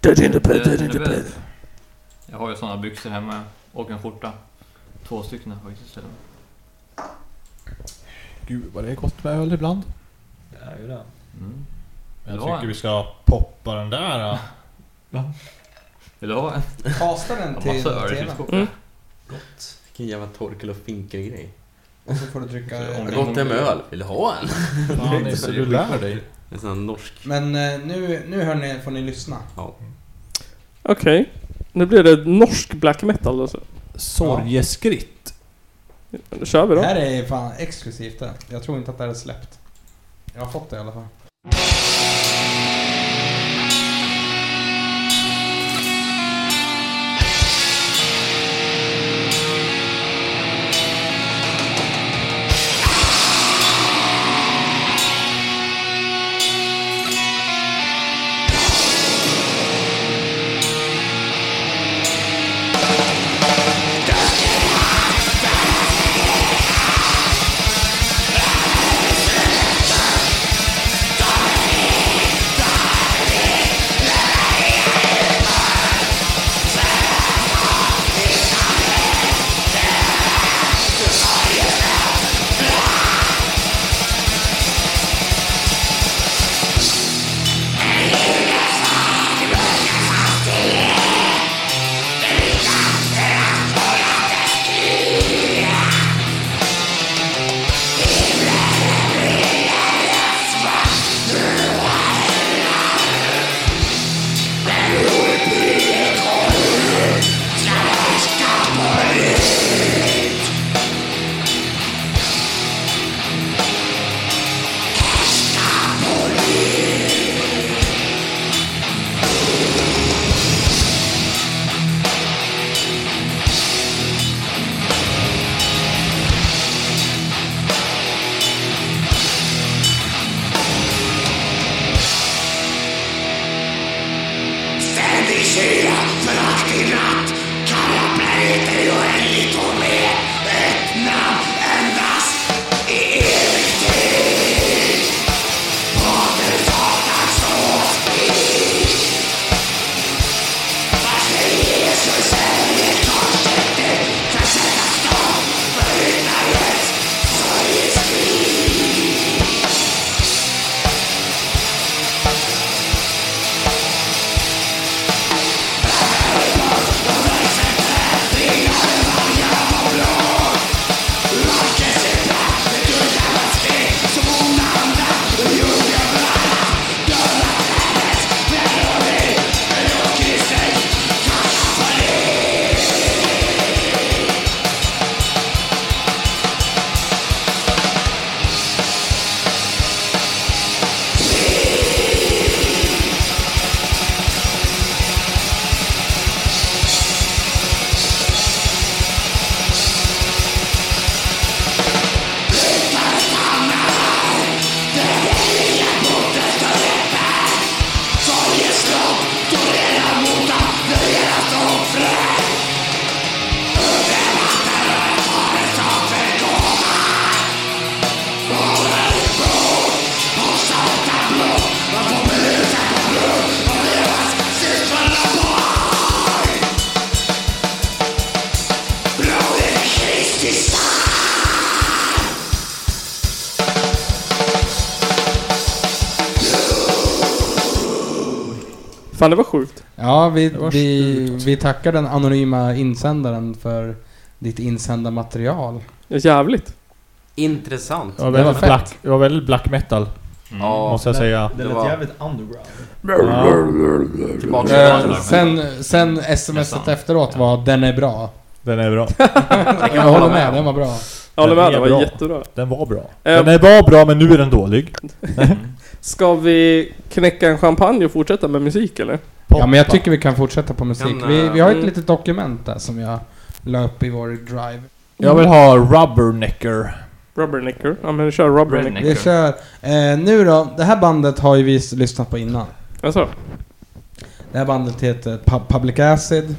S5: Dead in the bed,
S4: Det- det
S12: Eh,
S4: är väl- Jag har ju såna byxor hemma och en skjorta. Två stycken faktiskt. till och med.
S5: Gud vad det är gott med öl ibland.
S12: Det är ju det.
S5: Jag
S16: Mm.
S4: Vill du ha
S5: tycker
S4: en?
S5: vi ska poppa den där. ja. Va?
S4: Vill du ha en?
S16: eh,
S3: Kasta den
S4: Jag har
S3: till
S4: massa öre i
S3: TV:n.
S4: frysskåpet.
S2: Mm.
S16: Gott. Vilken jävla torkel och finkelgrej.
S3: Och så får du dricka...
S16: Vad gott det är med öl. Vill du ha en?
S5: Fan, Nisse, du lär dig.
S16: En sån här norsk...
S3: Men eh, nu, nu hörni, får ni lyssna.
S16: Ja.
S2: Okej. Nu blir det norsk black metal alltså.
S5: Sorgeskritt.
S2: Då kör vi
S3: Det
S2: då.
S3: här är fan exklusivt det. Jag tror inte att det här är släppt. Jag har fått det i alla fall.
S15: Dark
S2: Fan det var sjukt.
S3: Ja, vi, vi, vi tackar den anonyma insändaren för ditt insända material.
S2: Jävligt.
S16: Intressant.
S5: Det var väldigt, black, det var väldigt black metal.
S16: Mm.
S5: måste jag
S12: det-
S5: säga.
S12: Det lät
S16: Eh,
S12: jävligt underground.
S5: Ja.
S12: Tillbaka till
S3: Eh,
S12: Ragnarök.
S3: sen, sen smset efteråt var den är bra.
S5: Den är bra.
S3: jag håller med, den var bra.
S2: Jag håller med, den var
S5: är bra.
S2: jättebra.
S5: Den var bra.
S2: Eh,
S5: Den är var bra men nu är den dålig.
S2: Ska vi knäcka en champagne och fortsätta med musik eller?
S3: Ja, men jag tycker vi kan fortsätta på musik.
S2: Kan,
S3: Vi,
S2: eh,
S3: vi har ett
S2: mm.
S3: litet dokument där som jag la upp i vår drive.
S5: Jag vill ha Rubbernecker.
S2: Rubbernecker? Ja men vi kör Rubbernecker.
S3: Vi kör. Eh, nu då, det här bandet har ju vi s- lyssnat på innan.
S2: Jaså?
S3: Det här bandet heter Pu- Public Acid.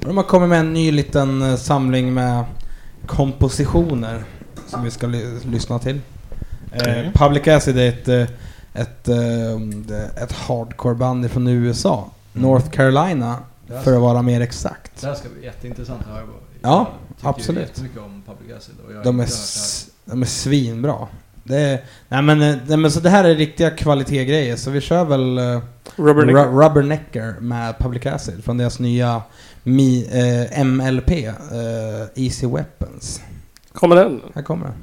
S3: Och de har kommit med en ny liten eh, samling med kompositioner som vi ska ly- lyssna till. Eh,
S5: Mm.
S3: Public Acid är ett, eh, ett, eh, ett hardcore-band från USA.
S12: Mm.
S3: North Carolina,
S12: Jaså.
S3: för att vara mer exakt.
S12: Det här ska bli jätteintressant att höra på.
S3: Ja,
S12: Jag tycker
S3: absolut.
S12: jättemycket om Public Acid och jag
S3: De är,
S12: jag-
S3: s- de är svinbra. Det är, nej, men, eh, nej men så det här är riktiga kvalitetsgrejer så vi kör väl eh,
S2: Rubbernecker.
S3: Ru- Rubbernecker med Public Acid från deras nya Mi, eh, MLP, eh, Easy Weapons.
S2: Kommer den?
S3: Här kommer den.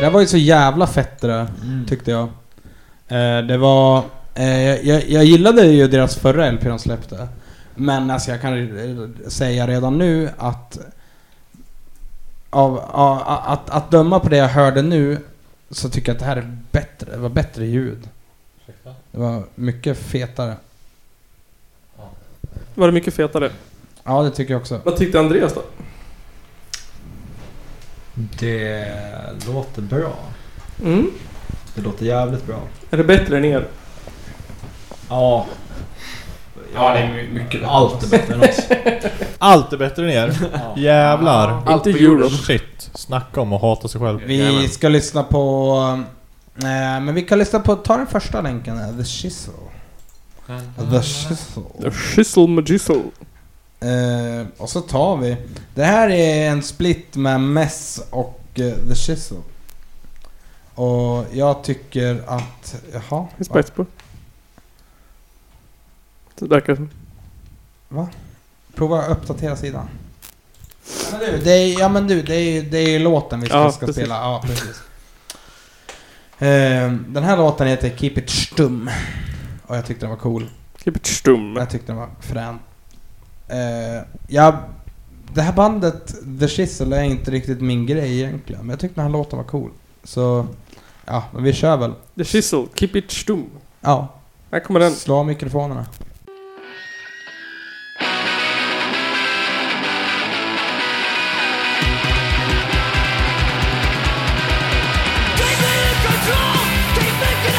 S3: Det där var ju så jävla fett det där, tyckte jag. Eh, det var... Eh, jag- jag, jag gillade ju deras förra LP de släppte. Men alltså jag kan eh, säga redan nu att... Av, av, att, att döma på det jag hörde nu så tycker jag att det här är bättre. Det var bättre ljud. Det var mycket fetare.
S2: Var det mycket fetare?
S3: Ja, det tycker jag också.
S2: Vad tyckte Andreas då?
S12: Det låter bra.
S2: Mm.
S12: Det låter jävligt bra.
S2: Är det bättre än er?
S12: Ja. Ja, det är mycket Allt är bättre än oss.
S5: Allt är bättre än er. Jävlar.
S3: Allt
S5: Inte
S3: på jorden.
S5: Europe. Shit. Snacka om att hata sig själv.
S3: Vi ska lyssna på... eh, men vi kan lyssna på... Ta den första länken här, The Shizzle. The Shizzle.
S2: The shizzle majizzle.
S3: Eh, och så tar vi. Det här är en split med Mess och eh, The Shizzle. Och jag tycker att... Jaha?
S2: Det är spets på. Det verkar som.
S3: Va? Prova att uppdatera sidan. Ja men du, det är, ja, men du, det är, det är ju låten vi ska,
S2: Ja,
S3: ska
S2: precis.
S3: spela. Ja, precis. Ehm, den här låten heter Keep It Stum. Och jag tyckte den var cool.
S2: Keep It Stum.
S3: Jag tyckte den var frän. Ehm, ja, det här bandet The Shizzle är inte riktigt min grej egentligen. Men jag tyckte den här låten var cool. Så ja, men vi kör väl.
S2: The shizzle. Keep it stum.
S3: Ja.
S2: Här kommer den.
S3: Slå av mikrofonerna.
S15: Control!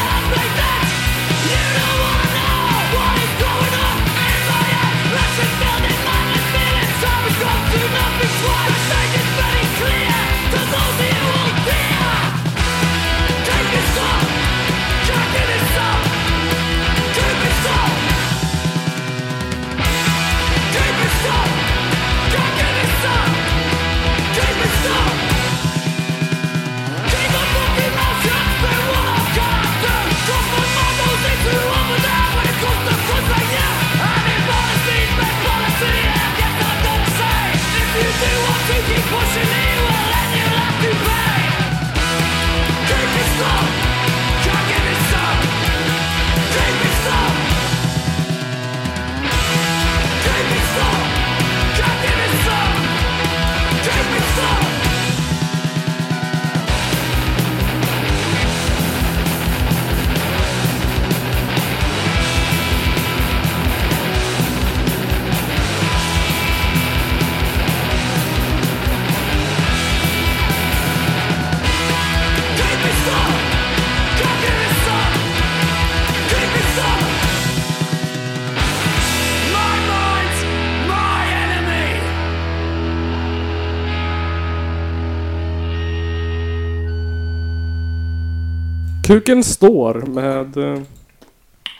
S2: Kuken står med eh,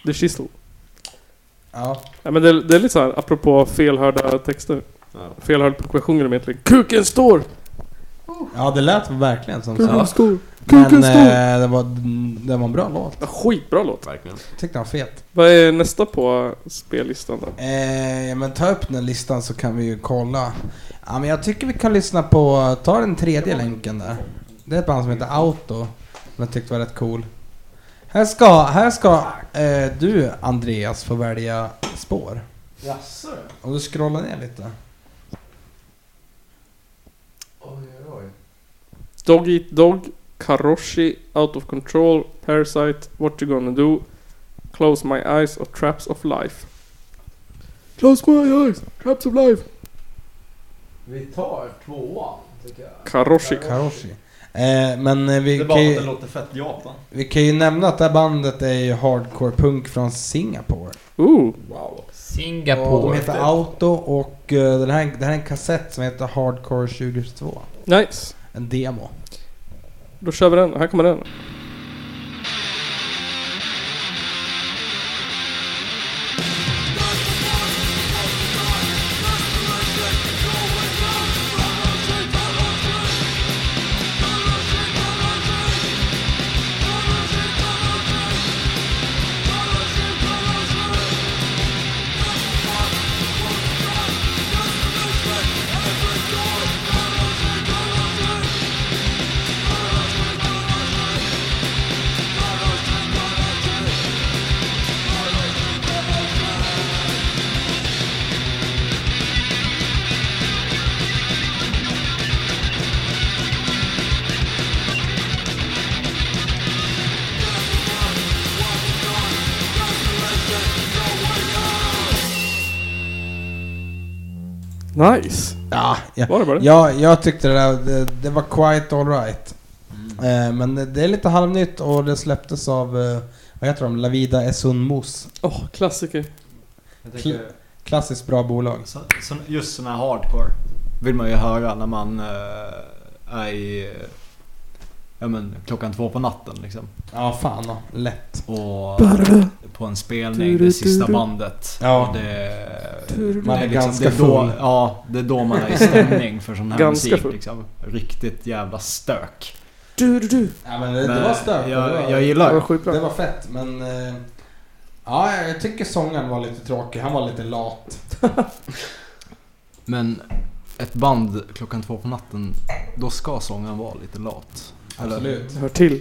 S2: The Chisel.
S3: Ja.
S2: ja men det, det är lite såhär, apropå felhörda texter. Felhörd sjunger de egentligen. Kuken står!
S3: Ja, det lät verkligen som
S2: Kuken
S3: så.
S2: stor.
S3: Men
S2: Kuken stor.
S3: eh, det, var, det var en bra låt.
S2: Ja, Skitbra låt.
S16: Verkligen.
S3: Tyckte han var fet.
S2: Vad är nästa på spellistan då?
S3: Eh, ja, men ta upp den listan så kan vi ju kolla. Ja, men jag tycker vi kan lyssna på, ta den tredje länken där. Det är ett band som heter Auto. Som jag tyckte var rätt cool. Här ska, här ska eh, du Andreas få välja spår.
S12: Jaså?
S3: Om du scrollar ner lite.
S16: Oj, oj, oj.
S2: Dog Eat Dog, Karoshi, Out of Control, Parasite, What You Gonna Do, Close My Eyes och Traps of Life. Close My Eyes, Traps of Life.
S12: Vi tar tvåan, tycker jag.
S2: Karoshi.
S3: Karoshi. Eh, men eh, vi
S12: Det är
S3: kan,
S12: bara för att det
S3: ju,
S12: låter fett Japan.
S3: vi kan ju nämna att det här bandet är ju hardcore punk från Singapore.
S2: Ooh.
S12: Wow.
S3: Och de
S4: Singapore.
S3: heter Auto och eh, den här, det här är en kassett som heter Hardcore 2022.
S2: Nice.
S3: En demo.
S2: Då kör vi den. Här kommer den. Nice.
S3: Ja, ja.
S2: Var det bara det?
S3: Ja, jag tyckte det där, det, det var quite alright.
S12: Mm.
S3: Eh, men det, det är lite halvnytt och det släpptes av, eh, vad heter de, Lavida Esun Mos.
S2: Åh, klassiker.
S12: Jag
S3: Kl-
S12: tänker-
S3: klassiskt bra bolag.
S12: Så, så, just såna här hardcore vill man ju höra när man eh, är i, eh, ja, men, klockan två på natten. Liksom.
S3: Ja, fan ja. Lätt.
S12: Och på en spelning,
S3: Du-du-du-du.
S12: det sista bandet.
S3: Ja.
S12: Och det,
S3: Du-du-du.
S12: det
S3: Man är ganska
S12: det är då,
S3: full.
S12: Ja, det är då man är i stämning för sån här
S2: Ganska full.
S12: musik. Liksom. Riktigt jävla stök.
S2: Du, du, du.
S3: Ja, men det, det
S12: Men
S3: var stört.
S12: jag-
S3: det var,
S12: jag
S3: det.
S12: gillar det.
S3: Var
S12: Det var
S2: skitbra.
S3: Det var fett, men... eh, ja, jag tycker sångaren var lite tråkig. Han var lite lat.
S12: Men ett band klockan två på natten, då ska sången vara lite lat. Eller?
S3: Absolut.
S2: Hör till.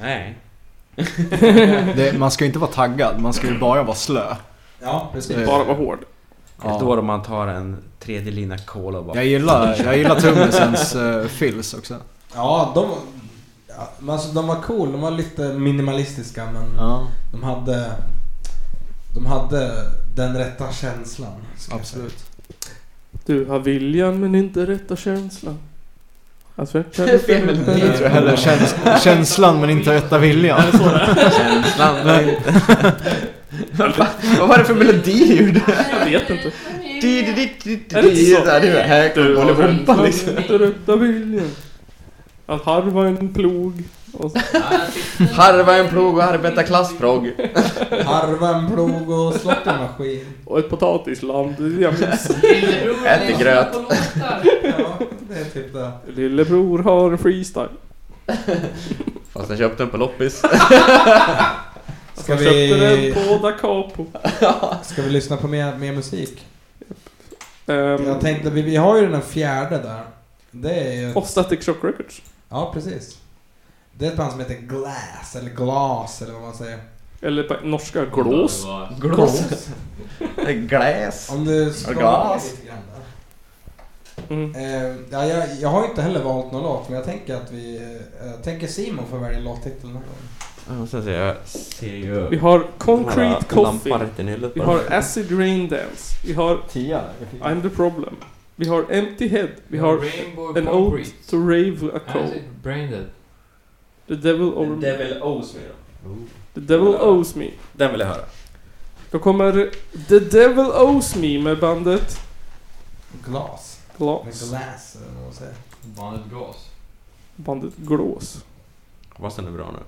S16: Nej.
S12: Det, man ska ju inte vara taggad, man ska ju bara vara slö.
S3: Ja, precis.
S12: Det-
S2: Bara vara hård.
S16: Det är då man tar en tredje lina cola och bara...
S12: Jag gillar, jag gillar trummisens uh, fills också.
S3: Ja, de... Ja, men alltså, de var cool. De var lite minimalistiska, men
S12: Ja.
S3: de hade... De hade den rätta känslan. ska jag säga.
S12: Absolut.
S2: Du har viljan men inte rätta känslan. Alltså, jag känner fel.
S12: Jag tror hellre käns- känslan men inte rätta viljan.
S16: Känslan.
S12: Men-
S16: Vad var det för melodi du gjorde?
S2: Jag vet inte.
S16: Är det inte så? Det är här kommer Bolibompa liksom.
S2: Inte rätta viljan. Att harva en plog. Och så.
S16: Harva en plog och arbetarklassprogg.
S3: Eh, Harva en plog och slått en maskin.
S2: Och ett potatisland. Det är det jag minns.
S16: Äter gröt.
S3: Ja, det är typ det.
S2: Lillebror har en freestyle.
S16: Fast jag köpte den på loppis.
S3: Ska
S2: Jag köpte den
S3: vi,
S2: på Da Capo.
S3: ska vi lyssna på mer, mer musik?
S2: Ehm,
S3: Jag tänkte, vi, vi har ju den här fjärde där. Det är ju...
S2: Och Static Shock Records.
S3: Ja, precis. Det är ett band som heter Glass, eller Glas, eller vad man säger.
S2: Eller på norska Glås.
S16: Glås. Gläs.
S3: Om du scrollar
S16: Glas.
S3: lite grann där.
S2: Mm.
S3: Eh, ja, jag, jag har inte heller valt någon låt, men jag tänker att vi... eh, Jag tänker Simon får välja låttitel den här gången.
S16: Jag måste säga, jag ser ju...
S2: Vi har
S16: Den här
S2: Concrete
S16: Lampan
S2: Coffee.
S16: rätt i nyllet
S2: Vi
S16: bara.
S2: har Acid Rain Dance. Vi har
S12: Tia.
S2: I'm the Problem. Vi har Empty Head. Vi
S4: Ja,
S2: har
S4: Rainbow
S2: An Ode
S4: Concrete.
S2: to Rave a Cold.
S4: Braindead.
S2: The Devil Over Me.
S16: Devil owes me
S2: The Devil Owes Me.
S16: Den vill jag höra.
S2: Då kommer The Devil Owes Me med bandet
S3: Glas. Med
S2: Glass.
S3: Glass, eller vad man säger.
S4: Bandet Gas.
S2: Bandet Glås.
S16: Hoppas den är bra nu.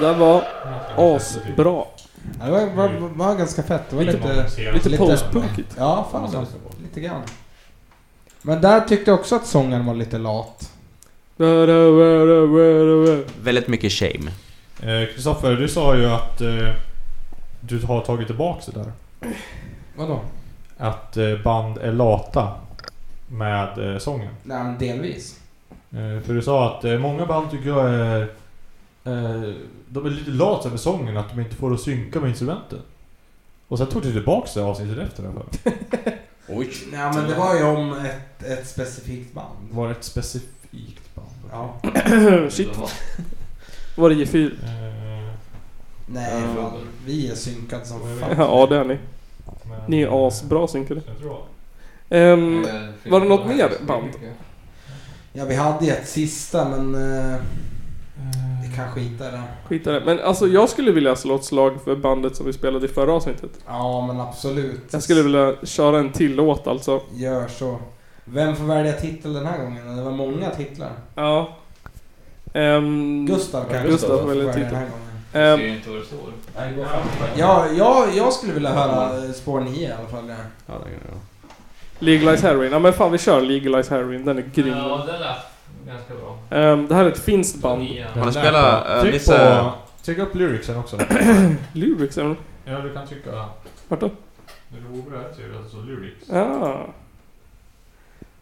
S2: där var asbra.
S3: Ja, det var, var, var ganska fett. Det var
S2: Lite
S3: lite...
S2: moderniserat. Lite postpunkigt.
S3: Ja, fan.
S12: alltså.
S3: ja. Lite grann. Men där tyckte jag också att sången var lite lat.
S16: Väldigt mycket shame.
S5: Eh, Kristoffer, du sa ju att eh, du har tagit tillbaks det där.
S3: Vadå?
S5: Att eh, band är lata med eh, sången.
S3: Nej, men delvis.
S5: Eh, För du sa att eh, många band tycker jag är... eh, De är lite lata med sången, att de inte får att synka med instrumenten. Och sen tog du tillbaks det avsnittet efter det för.
S16: Oj.
S3: Nej, men det var ju om ett, ett specifikt band.
S5: Var det ett specifikt band?
S3: Ja.
S2: Eh, Shit. Var det G4?
S5: Eh,
S3: Nej, fan. Vi är synkade som fan.
S2: Ja, det är ni. Ni är asbra synkade.
S4: Eh,
S2: Ehm, var det något mer band? Eh,
S3: Ja, vi hade ju ett sista, men... eh, Vi kan skita i det.
S2: Skit i det. Men alltså jag skulle vilja slå ett slag för bandet som vi spelade i förra avsnittet.
S3: Ja, men absolut.
S2: Jag skulle vilja köra en till låt alltså.
S3: Gör så. Vem får välja titel den här gången? Det var många titlar.
S2: Ja. Um,
S3: Gustav kanske
S2: Gustav
S3: får
S2: väljer
S3: välja
S2: titel.
S3: den här
S2: Ehm,
S4: ser ju inte vad det står.
S3: Ja, jag, jag skulle vilja höra eh, spår 9 i alla fall. Ja.
S2: Legalize Heroin. Ja men fan vi kör Legalize Heroin. Den är grym.
S4: Ja, den lät ganska bra.
S2: Ehm, det här är ett finskt band.
S5: Har du spelat, eh, Tryck Nisse- på- tryck upp lyricsen också.
S2: lyricsen?
S5: Ja, du kan trycka...
S2: Vart då?
S5: När du hovrar så är det alltså lyrics.
S2: Ah.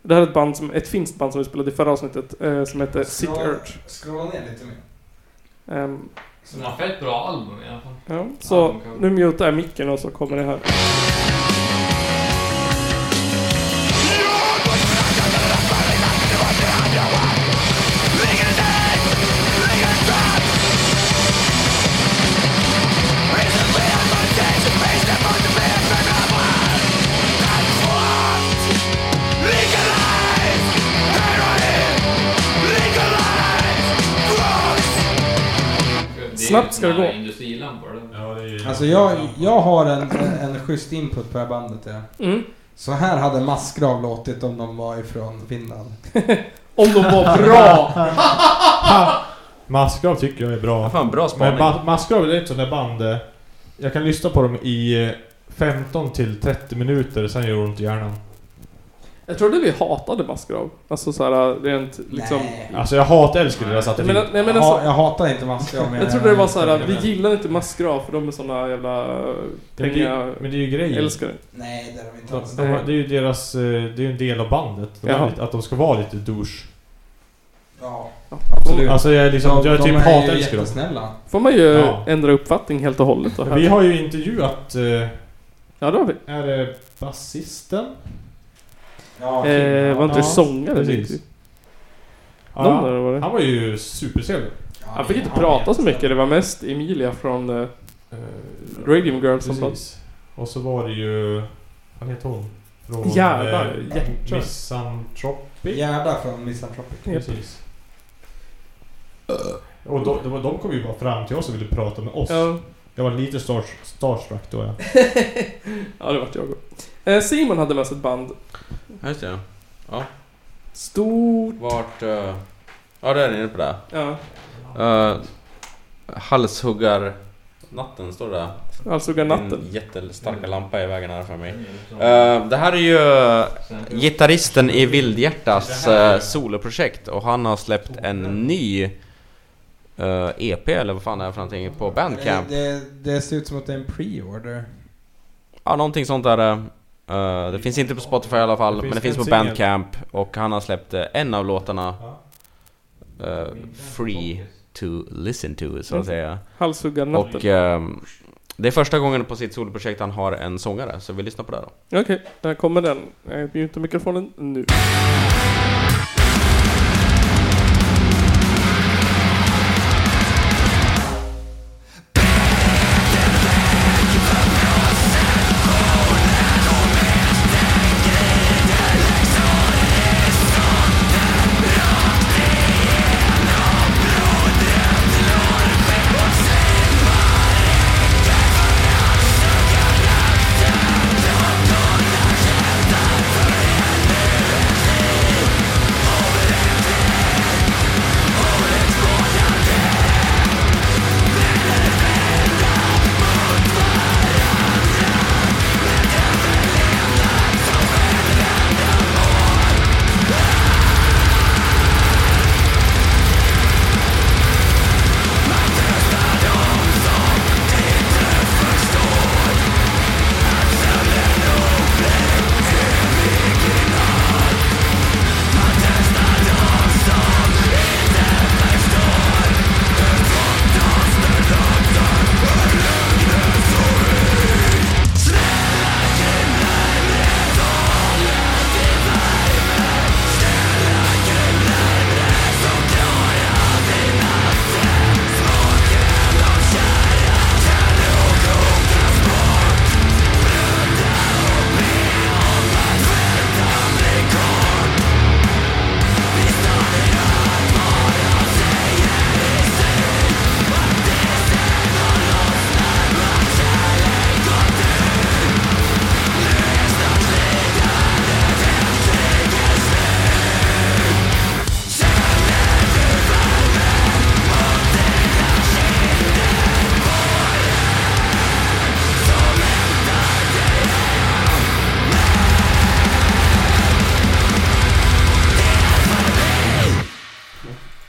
S2: Det här är ett, band som, ett finskt band som vi spelade i förra avsnittet eh, som heter Sick
S3: Scrolla-
S2: Urge.
S3: Scrolla ner lite mer.
S2: Ehm,
S4: De har fett bra album i alla fall.
S2: ja, så nu mutar jag micken och så kommer det här.
S3: Snabbt ska det gå.
S4: Industrilampor. den.
S3: Alltså jag, jag har en, en schysst input på det här bandet. Ja.
S2: Mm.
S3: Så här hade Massgrav låtit om de var ifrån Finland.
S2: om de var bra!
S5: Massgrav tycker jag är bra.
S16: Fan, bra spaning.
S5: Men Ma- Massgrav det är ett sånt där band. eh, Jag kan lyssna på dem i eh, 15 till 30 minuter, sen gör det ont i hjärnan.
S2: Jag trodde vi hatade Massgrav. Alltså såhär rent liksom...
S3: Nej.
S5: Alltså jag hatälskar deras
S2: Jag,
S5: attityd.
S2: menar, nej, men
S3: Jag
S2: alltså,
S3: ha- jag hatar inte Massgrav, men
S2: Jag
S3: jag-
S2: trodde det var såhär, vi
S3: jag-
S2: gillar inte Massgrav för de är såna jävla eh,
S5: det är ju-
S2: pengar...
S5: men det är ju grejen.
S2: Älskare.
S3: Nej, det är de inte
S5: De,
S3: alls.
S5: de, har- det är ju deras... eh, Det är ju en del av bandet. De
S2: Jaha.
S5: är lite, att de ska vara lite douche.
S3: Ja, absolut.
S5: Alltså jag är liksom...
S3: de,
S5: jag
S3: de
S5: typ
S3: är ju
S5: hatälskar dem.
S3: jättesnälla.
S2: Får man ju
S5: Ja.
S2: ändra uppfattning helt och hållet då.
S5: Vi har ju intervjuat... eh,
S2: Ja det har vi.
S5: Är det basisten?
S3: Ja,
S2: Eh, var inte det
S5: Ja,
S2: sångare?
S5: precis.
S2: typ?
S5: Ja,
S2: Någon där var det.
S5: Han var ju supertrevlig.
S2: Han fick inte prata så mycket, det var mest Emilia från uh, Radium Girls som pratade.
S5: Eh, Precis. Och så var det ju... Vad heter hon? Från...
S2: Jävlar,
S5: eh,
S2: jäklar.
S5: Misantropic.
S3: Gärda från Misantropic.
S5: Precis. Och de, de, de kom ju bara fram till oss och ville prata med oss.
S2: Ja.
S5: Jag var lite star, starstruck då ja.
S2: Ja, det vart jag uh, Simon hade med sig ett band.
S16: Ja, just det. Ja.
S2: Stort...
S16: Vart... eh, Ja, där är ni inne på det.
S2: Ja.
S16: Uh, halshuggar... Natten står det där. Mm.
S2: Halshuggarnatten.
S16: Din jättestarka
S4: Mm.
S16: lampa är i vägen här för mig.
S2: Mm.
S16: Eh, det här är ju Eh, gitarristen i Vildhjärtas eh, soloprojekt och han har släppt en ny eh, EP eller vad fan är det för någonting på Bandcamp.
S3: Det, det, det ser ut som att det är en pre-order.
S16: Ja, någonting sånt där.
S5: Uh,
S16: eh, det finns inte på Spotify i alla fall,
S3: Det
S16: men det
S3: finns
S16: finns
S3: en
S16: på
S3: singel.
S16: Bandcamp och han har släppt eh, en av låtarna eh, Free to listen to, så att
S2: Mm.
S16: säga.
S2: Halshuggarnatten.
S16: Och ehm, det är första gången på sitt soloprojekt han har en sångare, så vi lyssnar på det då.
S2: Okej, där kommer den. Eh, Jag mutar mikrofonen nu.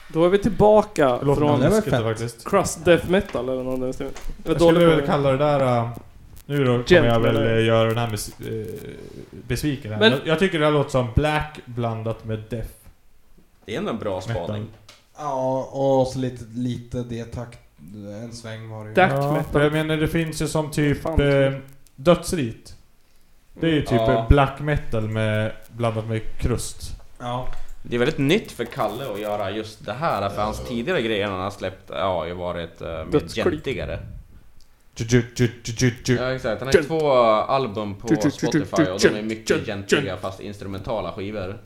S2: Då är vi tillbaka
S5: låter
S2: från
S5: ganska läskigt faktiskt.
S2: crust death metal eller något där.
S5: Jag skulle väl kalla det där... äh, Nu då kommer jag väl äh, göra den här bes- äh, besviken. här.
S2: Men-
S5: Jag- Jag tycker det här låter som black blandat med death.
S4: Det är ändå en bra spaning.
S3: Ja, och så lite, lite det takt... En sväng var det ju.
S5: ja, för Jag menar det finns ju som typ
S3: Fan, vad
S5: eh, dödsrit. Det är ju typ
S4: Ja.
S5: eh, black metal med, blandat med krust.
S4: Det är väldigt nytt för Kalle att göra just det här, för hans tidigare grejer han har släppt ja, har ju varit uh, mer
S5: Dödsklick.
S4: gentigare.
S5: Ju-ju-ju-ju-ju-ju.
S4: Ja exakt, han har ju
S5: Gent.
S4: två album på
S5: Gent, gent,
S4: Spotify och de är
S5: gent,
S4: mycket
S5: gent,
S4: gentiga
S5: gent.
S4: fast instrumentala skivor.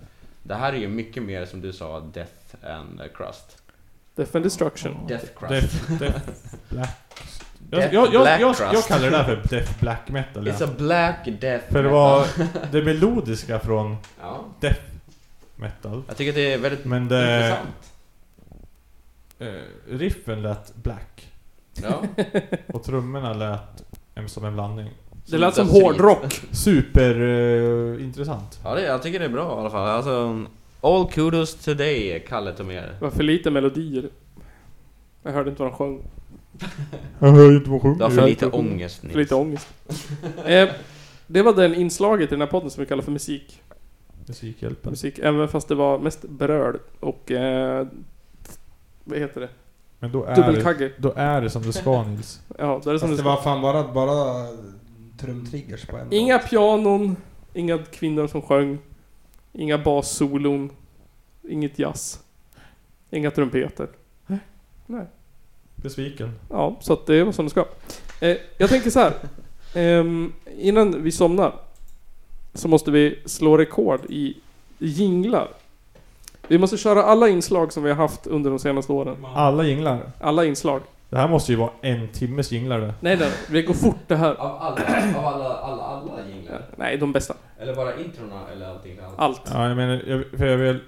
S4: Det här är ju mycket mer som du sa, Death and eh, Crust.
S2: Death and destruction.
S4: Death crust.
S5: Death, death, black. Jag,
S4: Death
S5: jag, jag,
S4: black
S5: jag, jag
S4: crust.
S5: kallar det där för death black metal.
S4: It's a black death
S5: För det var
S4: metal.
S5: det melodiska från
S4: Ja.
S5: death metal.
S4: Jag tycker det är väldigt
S5: Men det,
S4: intressant.
S5: eh, Riffen lät black.
S4: Ja.
S5: Och trummorna lät en- som en blandning.
S2: Det lät som hårdrock.
S5: eh, Superintressant.
S4: Ja, det, jag tycker det är bra i alla fall. Alltså, all kudos today, Kalle Tomér.
S2: Det var för lite melodier. Jag hörde inte vad de sjöng.
S5: Jag hör ju inte vad sjunger.
S4: Du har för lite ångest, Nils.
S2: För lite ångest. eh, det var den inslaget i den här podden som vi kallar för musik.
S5: Musikhjälpen.
S2: Musik, även fast det var mest bröl och... Eh, vad heter det?
S5: Men då är,
S2: Dubbelkagge.
S5: det, då är det som det ska Nils.
S2: Ja, då är det som
S3: Fast
S2: det
S3: det
S2: ska.
S3: var fan bara, bara trumtriggers på en.
S2: Inga pianon, inga kvinnor som sjöng, inga bassolon, inget jazz, inga trumpeter. Nej.
S5: Besviken.
S2: Ja, så att det var som det ska. Eh, jag tänker så här. Ehm, innan vi somnar så måste vi slå rekord i jinglar. Vi måste köra alla inslag som vi har haft under de senaste åren.
S5: Alla jinglar.
S2: Alla inslag.
S5: Det här måste ju vara en timmes jinglar det.
S2: Nej, nej, det går fort det här.
S4: Av alla, av alla, alla, alla jinglar?
S2: Nej, de bästa.
S4: Eller bara introna eller allting? annat?
S2: Allt.
S5: Ja, jag menar, jag, för jag vill...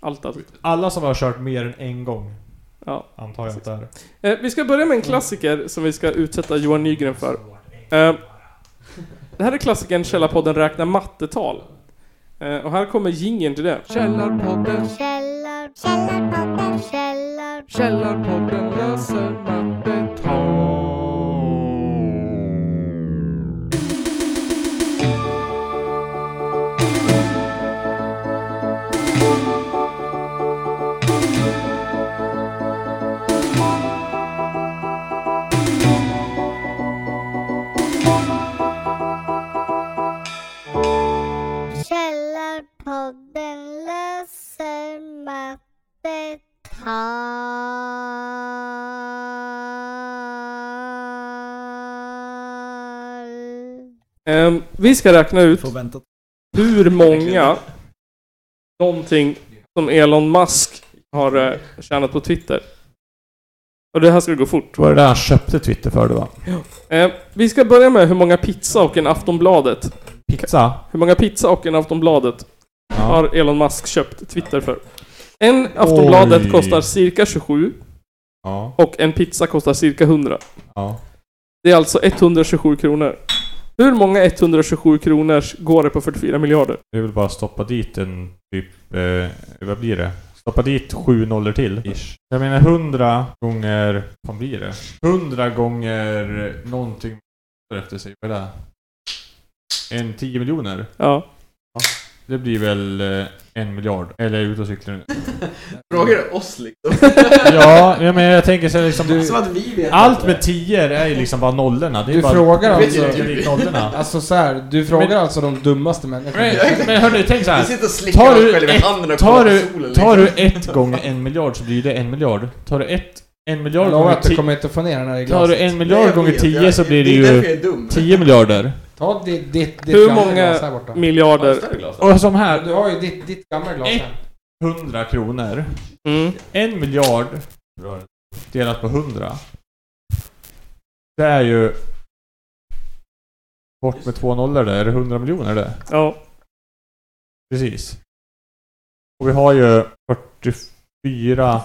S2: Allt, allt.
S5: Alla som har kört mer än en gång.
S2: Ja.
S5: Antar jag att det är.
S2: Eh, vi ska börja med en klassiker som vi ska utsätta Johan Nygren för. Eh, det här är klassikern Källarpodden räknar mattetal. Eh, och här kommer jingeln till det.
S10: Källarpodden Källar, Källarpodden Källar, Källarpodden läser mattetal Källarpodden läser mattetal
S2: Ehm, vi ska räkna ut hur många någonting som Elon Musk har eh, tjänat på Twitter. Och det här ska gå fort.
S5: Var det där han köpte Twitter för det va?
S2: Eh, vi ska börja med hur många pizza och en Aftonbladet.
S5: Pizza?
S2: Hur många pizza och en Aftonbladet har Elon Musk köpt Twitter för? En Aftonbladet
S5: Oj.
S2: kostar cirka 27
S5: Ja.
S2: och en pizza kostar cirka 100.
S5: Ja.
S2: Det är alltså 127 kronor. Hur många 127 kronor går det på 44 miljarder?
S5: Vi vill bara stoppa dit en typ... Eh, vad blir det? Stoppa dit sju nollor till. Ish. Jag menar 100 gånger... Vad blir det? 100 gånger någonting efter sig. Vad är det? En 10 miljoner?
S2: Ja.
S5: Det blir väl eh, en miljard. Eller jag är ute och cyklar nu.
S4: Frågar du oss liksom?
S5: ja, ja, men jag tänker så här liksom...
S4: Som att vi vet
S5: allt
S4: bättre.
S5: med 10 är ju liksom bara nollorna. Det är
S3: Du
S5: bara,
S3: frågar
S5: det är
S3: alltså...
S5: ju dit nollorna.
S3: Alltså så här, du frågar
S5: Men-
S3: alltså de dummaste människorna.
S5: Men, men hörni, tänk såhär.
S4: Vi sitter och slickar oss själva i handen och
S5: tar,
S4: kollar
S5: du,
S4: på solen,
S5: tar du
S4: liksom.
S5: ett gånger en miljard så blir det en miljard. Tar du ett, en miljard
S3: Jag lovar
S5: gånger
S3: att du
S5: ti-
S3: kommer inte få ner den här i
S5: Tar du
S3: glaset.
S5: en
S3: Nej,
S5: miljard
S3: jag
S5: gånger
S3: vet,
S5: tio
S3: jag-
S5: så blir det
S3: det är därför jag
S5: ju
S3: är dum.
S5: tio miljarder.
S3: Ta ditt, ditt, ditt
S2: Hur
S3: gamla
S2: många
S3: glas här borta.
S2: miljarder? Ja,
S5: större glas. Och som här-
S3: Du har ju ditt, ditt gamla glas här.
S5: 100 kronor.
S2: Mm.
S5: En miljard delat på 100. Det är ju... Bort med två nollor där. Är det 100 miljoner det?
S2: Ja.
S5: Precis. Och vi har ju 44...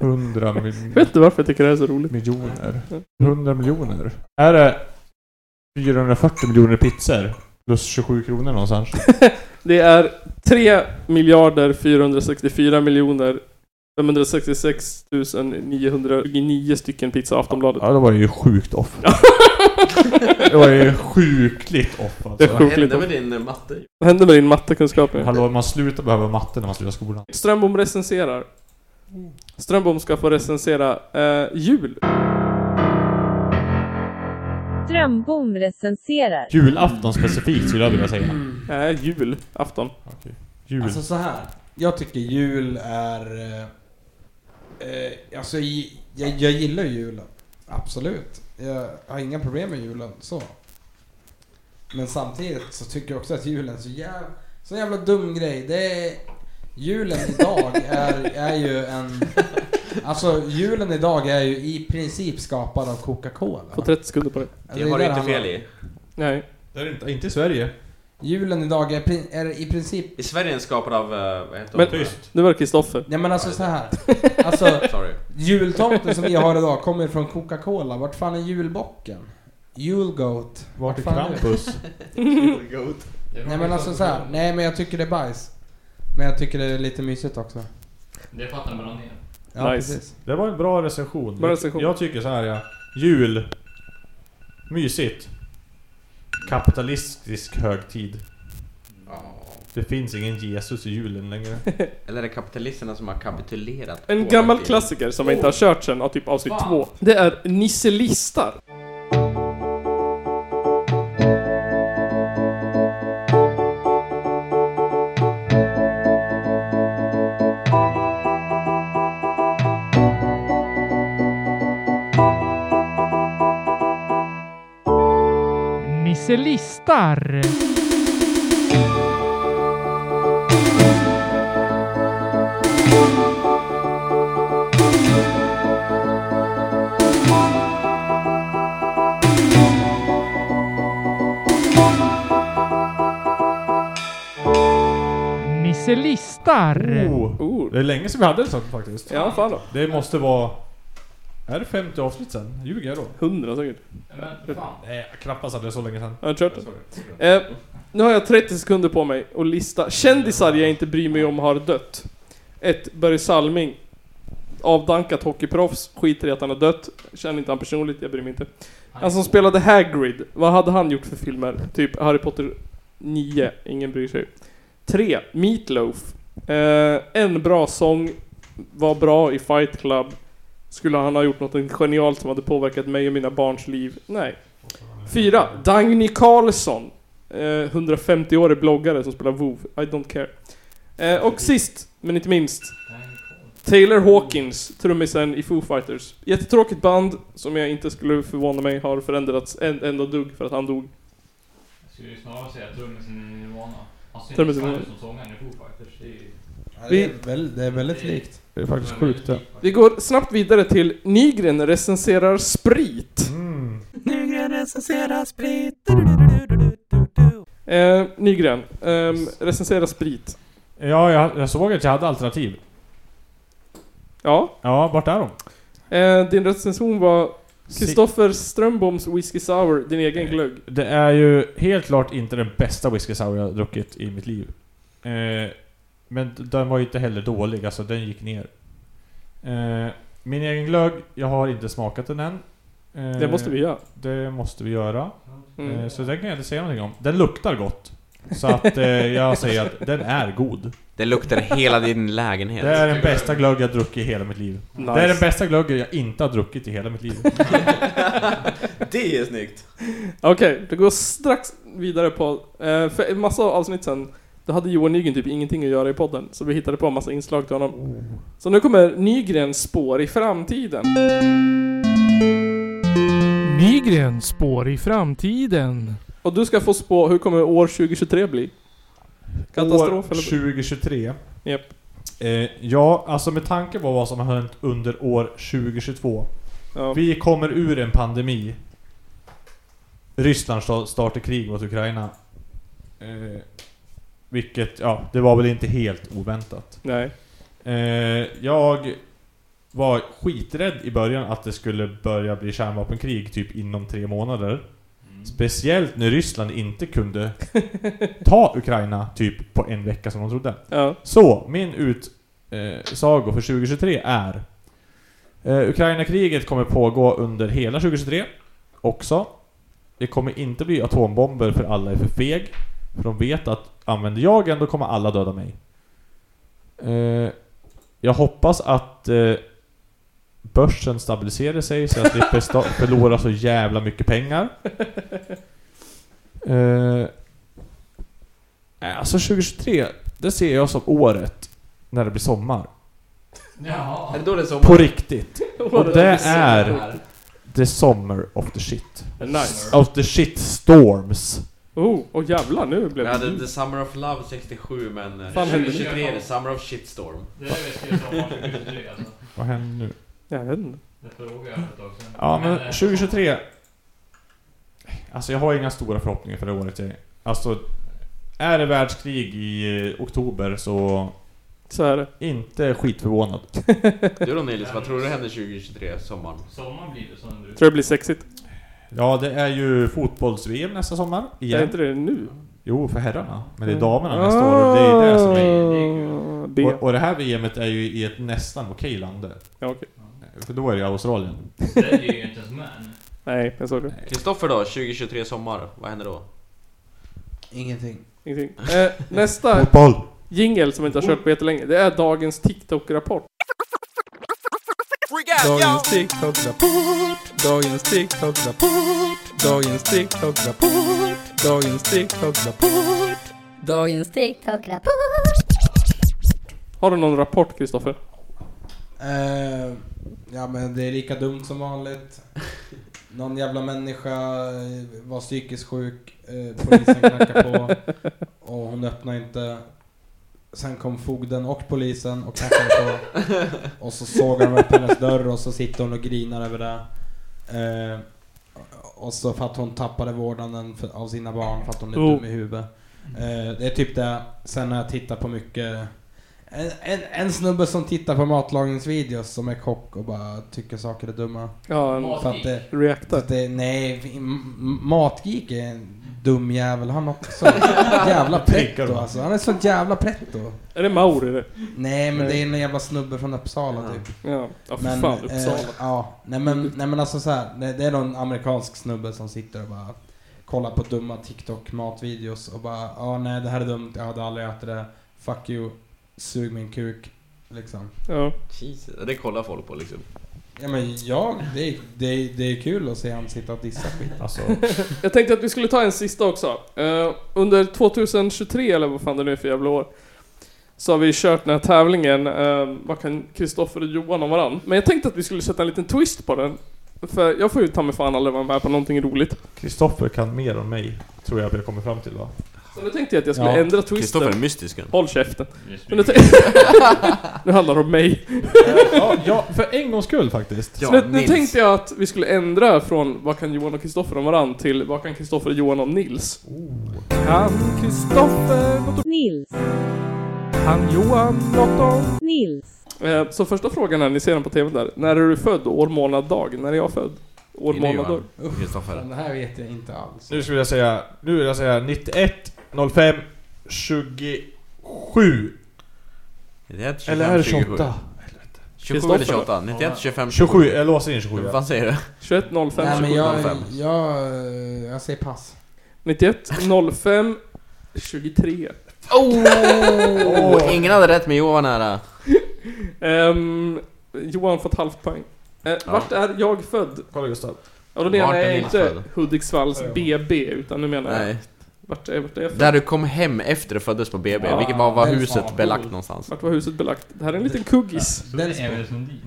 S5: 100 miljoner.
S2: Vet du varför jag tycker det här är så roligt?
S5: Miljoner. 100 miljoner. Är det 440 miljoner pizzor? Plus 27 kronor någonstans.
S2: Det är 3 miljarder 464 miljoner 566 929 stycken pizza
S16: Alltså,
S2: Aftonbladet.
S5: Ja, det var ju sjukt off. det var ju sjukligt off alltså.
S2: Det är sjukligt
S16: hände
S2: off.
S16: med din, eh, matte?
S2: Vad hände med din mattekunskap nu?
S5: Hallå, man slutar behöva matte när man slutar skolan.
S2: Strömbom recenserar. Mm. Strömbom ska få recensera eh, jul.
S17: Strömbom recenserar.
S5: Julafton specifikt skulle jag vilja säga.
S2: Nej, Eh, jul. Afton.
S5: Jul.
S3: Alltså så här. Jag tycker jul är... eh, Eh, alltså i- jag, jag gillar ju julen. Absolut. Jag har inga problem med julen så. Men samtidigt så tycker jag också att julen är så jävla, så jävla dum grej. Det är, julen idag är, är ju en... Alltså julen idag är ju i princip skapad av Coca-Cola.
S2: Få 30 sekunder på det.
S3: Alltså, är där han-
S2: Nej.
S5: Det är det inte, inte i Sverige.
S3: Julen idag är, pri- är i princip
S16: I Sverige är den skapad av, eh, vad heter
S2: Men,
S16: de?
S2: det var Kristoffer.
S3: Nej men alltså så här. Alltså,
S16: Sorry.
S3: jultomten som vi har idag kommer från Coca-Cola. Vart fan är julbocken? Julgoat.
S5: Vart är
S3: fan
S5: Krampus?
S3: julgoat. Nej men alltså så här. Nej men jag tycker det är bajs. Men jag tycker det är lite mysigt också.
S4: Det fattar man ner.
S3: Ja,
S5: Nice.
S3: precis.
S5: Det var en bra recension.
S2: Bra recension.
S5: Jag, jag tycker så här ja. Jul. Mysigt. Kapitalistisk högtid. Det finns ingen Jesus i julen längre.
S16: Eller är det kapitalisterna som har kapitulerat?
S2: En
S16: på
S2: gammal
S16: det?
S2: klassiker som jag inte har kört sen av typ avsnitt
S16: Fan.
S2: två. Det är Nisse listar.
S18: Nisse listar. Nisse listar.
S5: Oh. Det är länge sedan vi hade en sån faktiskt.
S2: Ja, fan då.
S5: Det måste vara... Är det 50 avsnitt sen? Ljuger jag då?
S2: 100 säkert.
S5: Men fan. Nej, knappast att det är så länge sen.
S2: Jag har kört det. Eh, nu har jag 30 sekunder på mig att lista kändisar jag inte bryr mig om har dött. 1. Börje Salming. Avdankat hockeyproffs. Skiter i att han har dött. Känner inte han personligt, jag bryr mig inte. Han som spelade Hagrid. Vad hade han gjort för filmer? Typ Harry Potter 9. Ingen bryr sig. 3. Meatloaf. Eh, en bra sång. Var bra i Fight Club. Skulle han ha gjort något genialt som hade påverkat mig och mina barns liv? Nej. Fyra, Dagny Carlsson. Eh, 150-årig bloggare som spelar WoW. I don't care. Eh, och sist, men inte minst. Taylor Hawkins, trummisen i Foo Fighters. Jättetråkigt band som jag inte skulle förvåna mig har förändrats en, ändå dugg för att han dog.
S4: Jag skulle ju snarare säga trummisen i Nirvana. Han ser
S2: Trummisen
S4: inte
S2: i
S4: ut som sångaren i Foo Fighters. Det är ju...
S3: Det är, väl, det är väldigt likt.
S5: Det är faktiskt sjukt det.
S2: Vi går snabbt vidare till Nygren recenserar sprit.
S5: Mm.
S1: Nygren recenserar sprit.
S2: Eh, Nygren, ehm, recensera sprit.
S5: Ja, jag, jag såg att jag hade alternativ.
S2: Ja.
S5: Ja, vart är de?
S2: Eh, din recension var Kristoffer Strömboms Whiskey Sour, din
S5: Eh,
S2: egen glögg.
S5: Det är ju helt klart inte den bästa whisky sour jag har druckit i mitt liv. Eh, men d- den var ju inte heller dålig, alltså den gick ner. Eh, min egen glögg, jag har inte smakat den än. Eh,
S2: Det måste vi göra.
S5: Det måste vi göra.
S2: Mm.
S5: Eh, så den kan jag inte säga någonting om. Den luktar gott. Så att eh, jag säger att den är god.
S16: Det luktar hela din lägenhet.
S5: Det är den bästa glögg jag druckit i hela mitt liv.
S16: Nice.
S5: Det är den bästa glöggen jag inte har druckit i hela mitt liv.
S16: Det är snyggt.
S2: Okej, det går strax vidare på... Eh, för en massa avsnitt sen, då hade Johan Nygren typ ingenting att göra i podden. Så vi hittade på en massa inslag till honom. Så nu kommer Nygrens spår i framtiden.
S18: Nygren spår i framtiden.
S2: Och du ska få spå, hur kommer år 2023 bli? Katastrof
S5: år
S2: eller?
S5: 2023.
S2: Japp.
S5: Eh, ja, alltså med tanke på vad som har hänt under år 2022.
S2: Ja.
S5: Vi kommer ur en pandemi. Ryssland sta- startar krig mot Ukraina. Eh, vilket, ja, det var väl inte helt oväntat.
S2: Nej.
S5: Eh, jag var skiträdd i början att det skulle börja bli kärnvapenkrig typ inom tre månader.
S4: Mm.
S5: Speciellt när Ryssland inte kunde ta Ukraina typ på en vecka som de trodde.
S2: Ja.
S5: Så, min ut eh, sagor för 2023 är eh, Ukraina-kriget kommer pågå under hela 2023 också. Det kommer inte bli atombomber för alla är för feg. För de vet att använder jag en då kommer alla döda mig. Eh, jag hoppas att eh, börsen stabiliserar sig så jag slipper sta- förlora så jävla mycket pengar. Eh, nej, alltså 2023, det ser jag som året när det blir sommar.
S4: Jaha. Är det då det är sommar?
S5: På riktigt. Och
S4: Året
S5: det
S4: blir
S5: är
S4: sommar.
S5: the summer of the shit.
S2: Nice.
S5: Of the shit storms.
S2: Oh, och jävlar nu blev
S16: Jag
S2: det...
S16: hade The Summer of Love 67 men eh,
S2: Fan, hände det?
S16: 2023 är The Summer of Shitstorm.
S4: Det är det vi skrev sommar 2023 alltså.
S5: Vad händer nu?
S2: Jag vet inte.
S4: Det frågade jag för ett tag sedan.
S5: Ja, men
S4: eh,
S5: 2023... Alltså jag har inga stora förhoppningar för det året. jag- Alltså, är det världskrig i eh, oktober så...
S2: Så är det.
S5: Inte skitförvånad.
S16: Du då Nils, vad tror du händer 2023, sommaren?
S4: Sommaren blir det som du...
S2: Tror det blir sexigt.
S5: Ja, det är ju fotbolls-VM nästa sommar. Igen.
S2: Är inte det nu?
S5: Jo, för herrarna. Men det är
S2: Mm.
S5: damerna nästa år och det är det som
S2: Ah, det.
S5: är... Och, och det här VMet är ju i ett nästan okej land.
S2: Ja, okej.
S5: För då är det ju Australien.
S4: Det är ju inte ens med.
S2: Nej, jag såg det.
S16: Kristoffer då, 2023 sommar, vad händer då?
S3: Ingenting.
S2: Ingenting. Eh, nästa
S5: Fotboll.
S2: jingel som vi inte har kört på jättelänge, det är dagens TikTok-rapport.
S3: Dagens TikTok-rapport. Dagens TikTok-rapport. Dagens TikTok-rapport. Dagens TikTok-rapport.
S2: Dagens Har du någon rapport, Kristoffer?
S3: Eh, ja men det är lika dumt som vanligt. Någon jävla människa eh, var psykiskt sjuk. Eh, polisen knackade på och hon öppnade inte. Sen kom fogden och polisen och knackade på. Och så såg de upp hennes dörr och så sitter hon och grinar över det. Eh, och så för att hon tappade vårdnaden för, av sina barn för att hon är
S2: Oh.
S3: dum i huvudet. Eh, det är typ det. Sen har jag tittat på mycket en, en, en snubbe som tittar på matlagningsvideos som är kock och bara tycker saker är dumma.
S2: Ja, en
S3: För att det,
S2: reaktor.
S3: för att det, nej, vi- m- m- matgeek är en dum jävel. Han har så jävla pretto alltså. Han är så jävla pretto.
S2: Är det Mauri det?
S3: Nej men
S2: Nej.
S3: det är en jävla snubbe från Uppsala typ.
S2: Ja. Ja, för fan, Uppsala.
S3: Eh, ja, nej men, nej men alltså så här, det, det är någon amerikansk snubbe som sitter och bara kollar på dumma TikTok matvideos och bara ja nej det här är dumt, jag hade aldrig ätit det, fuck you, sug min kuk. Liksom.
S2: Ja.
S16: Jesus, det kollar folk på liksom.
S3: Ja men jag, det, är- det, är- det är kul att se han sitta och dissa skit.
S5: Alltså.
S2: Jag tänkte att vi skulle ta en sista också. Eh, under 2023, eller vad fan det nu är för jävla år, så har vi kört den här tävlingen, eh, vad kan Kristoffer och Johan om varann? Men jag tänkte att vi skulle sätta en liten twist på den. För jag får ju ta mig fan aldrig vara med på någonting roligt.
S5: Kristoffer kan mer om mig, tror jag vi har kommit fram till va?
S2: Så nu tänkte jag att jag skulle
S5: Ja.
S2: ändra twisten.
S16: Kristoffer är mystisken.
S2: Håll käften.
S16: Yes,
S2: Men nu,
S16: vi-
S2: tän- nu handlar det om mig.
S5: ja, ja, för en gångs skull faktiskt.
S2: Så nu, nu tänkte jag att vi skulle ändra från vad kan Johan och Kristoffer om varann till vad kan Kristoffer och Johan om Nils?
S18: Oh. Kan Kristoffer något om...
S17: Nils.
S18: Kan Johan något om...
S17: Nils.
S2: Eh, Så första frågan är, ni ser den på TV där. När är du född? År, månad, dag? När är jag född? År,
S16: Inne,
S2: månad, dag?
S16: Johan. Kristoffer.
S3: Det här vet jag inte alls.
S5: Nu skulle jag säga, nu vill jag säga 91, 05, 27.
S16: 91, 25,
S5: Eller är det 28?
S16: 27? 27 eller 28? 91, 25,
S5: 27, jag låser in 27.
S16: Vad säger du?
S2: 21, 05,
S3: Nej men
S2: 27,
S3: jag,
S2: 05.
S3: jag, eh, jag säger pass.
S2: 91, 05, 23.
S16: Oh, ingen hade rätt men Johan var
S10: eh,
S16: nära.
S2: Ehm, Johan får ett halvt poäng. Eh, Vart är jag född?
S5: Kolla Gustav.
S2: Ja, då menar
S16: Vart är
S2: jag
S16: Nils
S2: inte
S16: född?
S2: Hudiksvalls BB, utan nu menar jag...
S16: Nej.
S2: Vart är, vart är jag född?
S16: Där du kom hem efter du föddes på BB,
S2: Ja,
S16: vilket var, var
S2: den
S16: huset
S2: fan.
S16: belagt någonstans?
S2: Vart var huset belagt? Det här är en liten kuggis.
S4: Så det är Emil Sundin.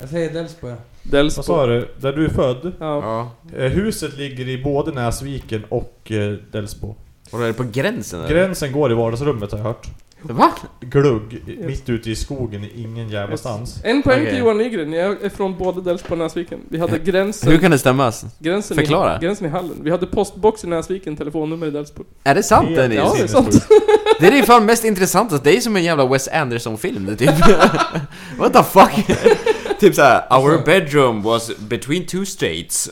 S3: Jag säger Delsbo.
S2: Delsbo.
S5: Vad sa du? Där du är född?
S2: Ja.
S5: Eh, Huset ligger i både Näsviken och eh, Delsbo.
S16: Och är det på gränsen eller?
S5: Gränsen går i vardagsrummet har jag hört.
S16: Va?
S5: Glugg, i-
S2: Yes.
S5: mitt ute i skogen, i ingen jävla stans.
S2: En poäng
S16: Okej.
S2: till Johan Nygren, jag är från både Delsbo och Näsviken. Vi hade gränsen...
S16: Hur kan det stämmas?
S2: Gränsen
S16: Förklara.
S2: I, gränsen i hallen. Vi hade postbox i Näsviken, telefonnummer i Delsbo.
S16: Är det sant
S2: Ja,
S16: Dennis?
S2: det är sant.
S16: Det är det fan mest intressanta, det är som en jävla Wes Anderson-film det typ What the fuck? typ såhär, our bedroom was between two states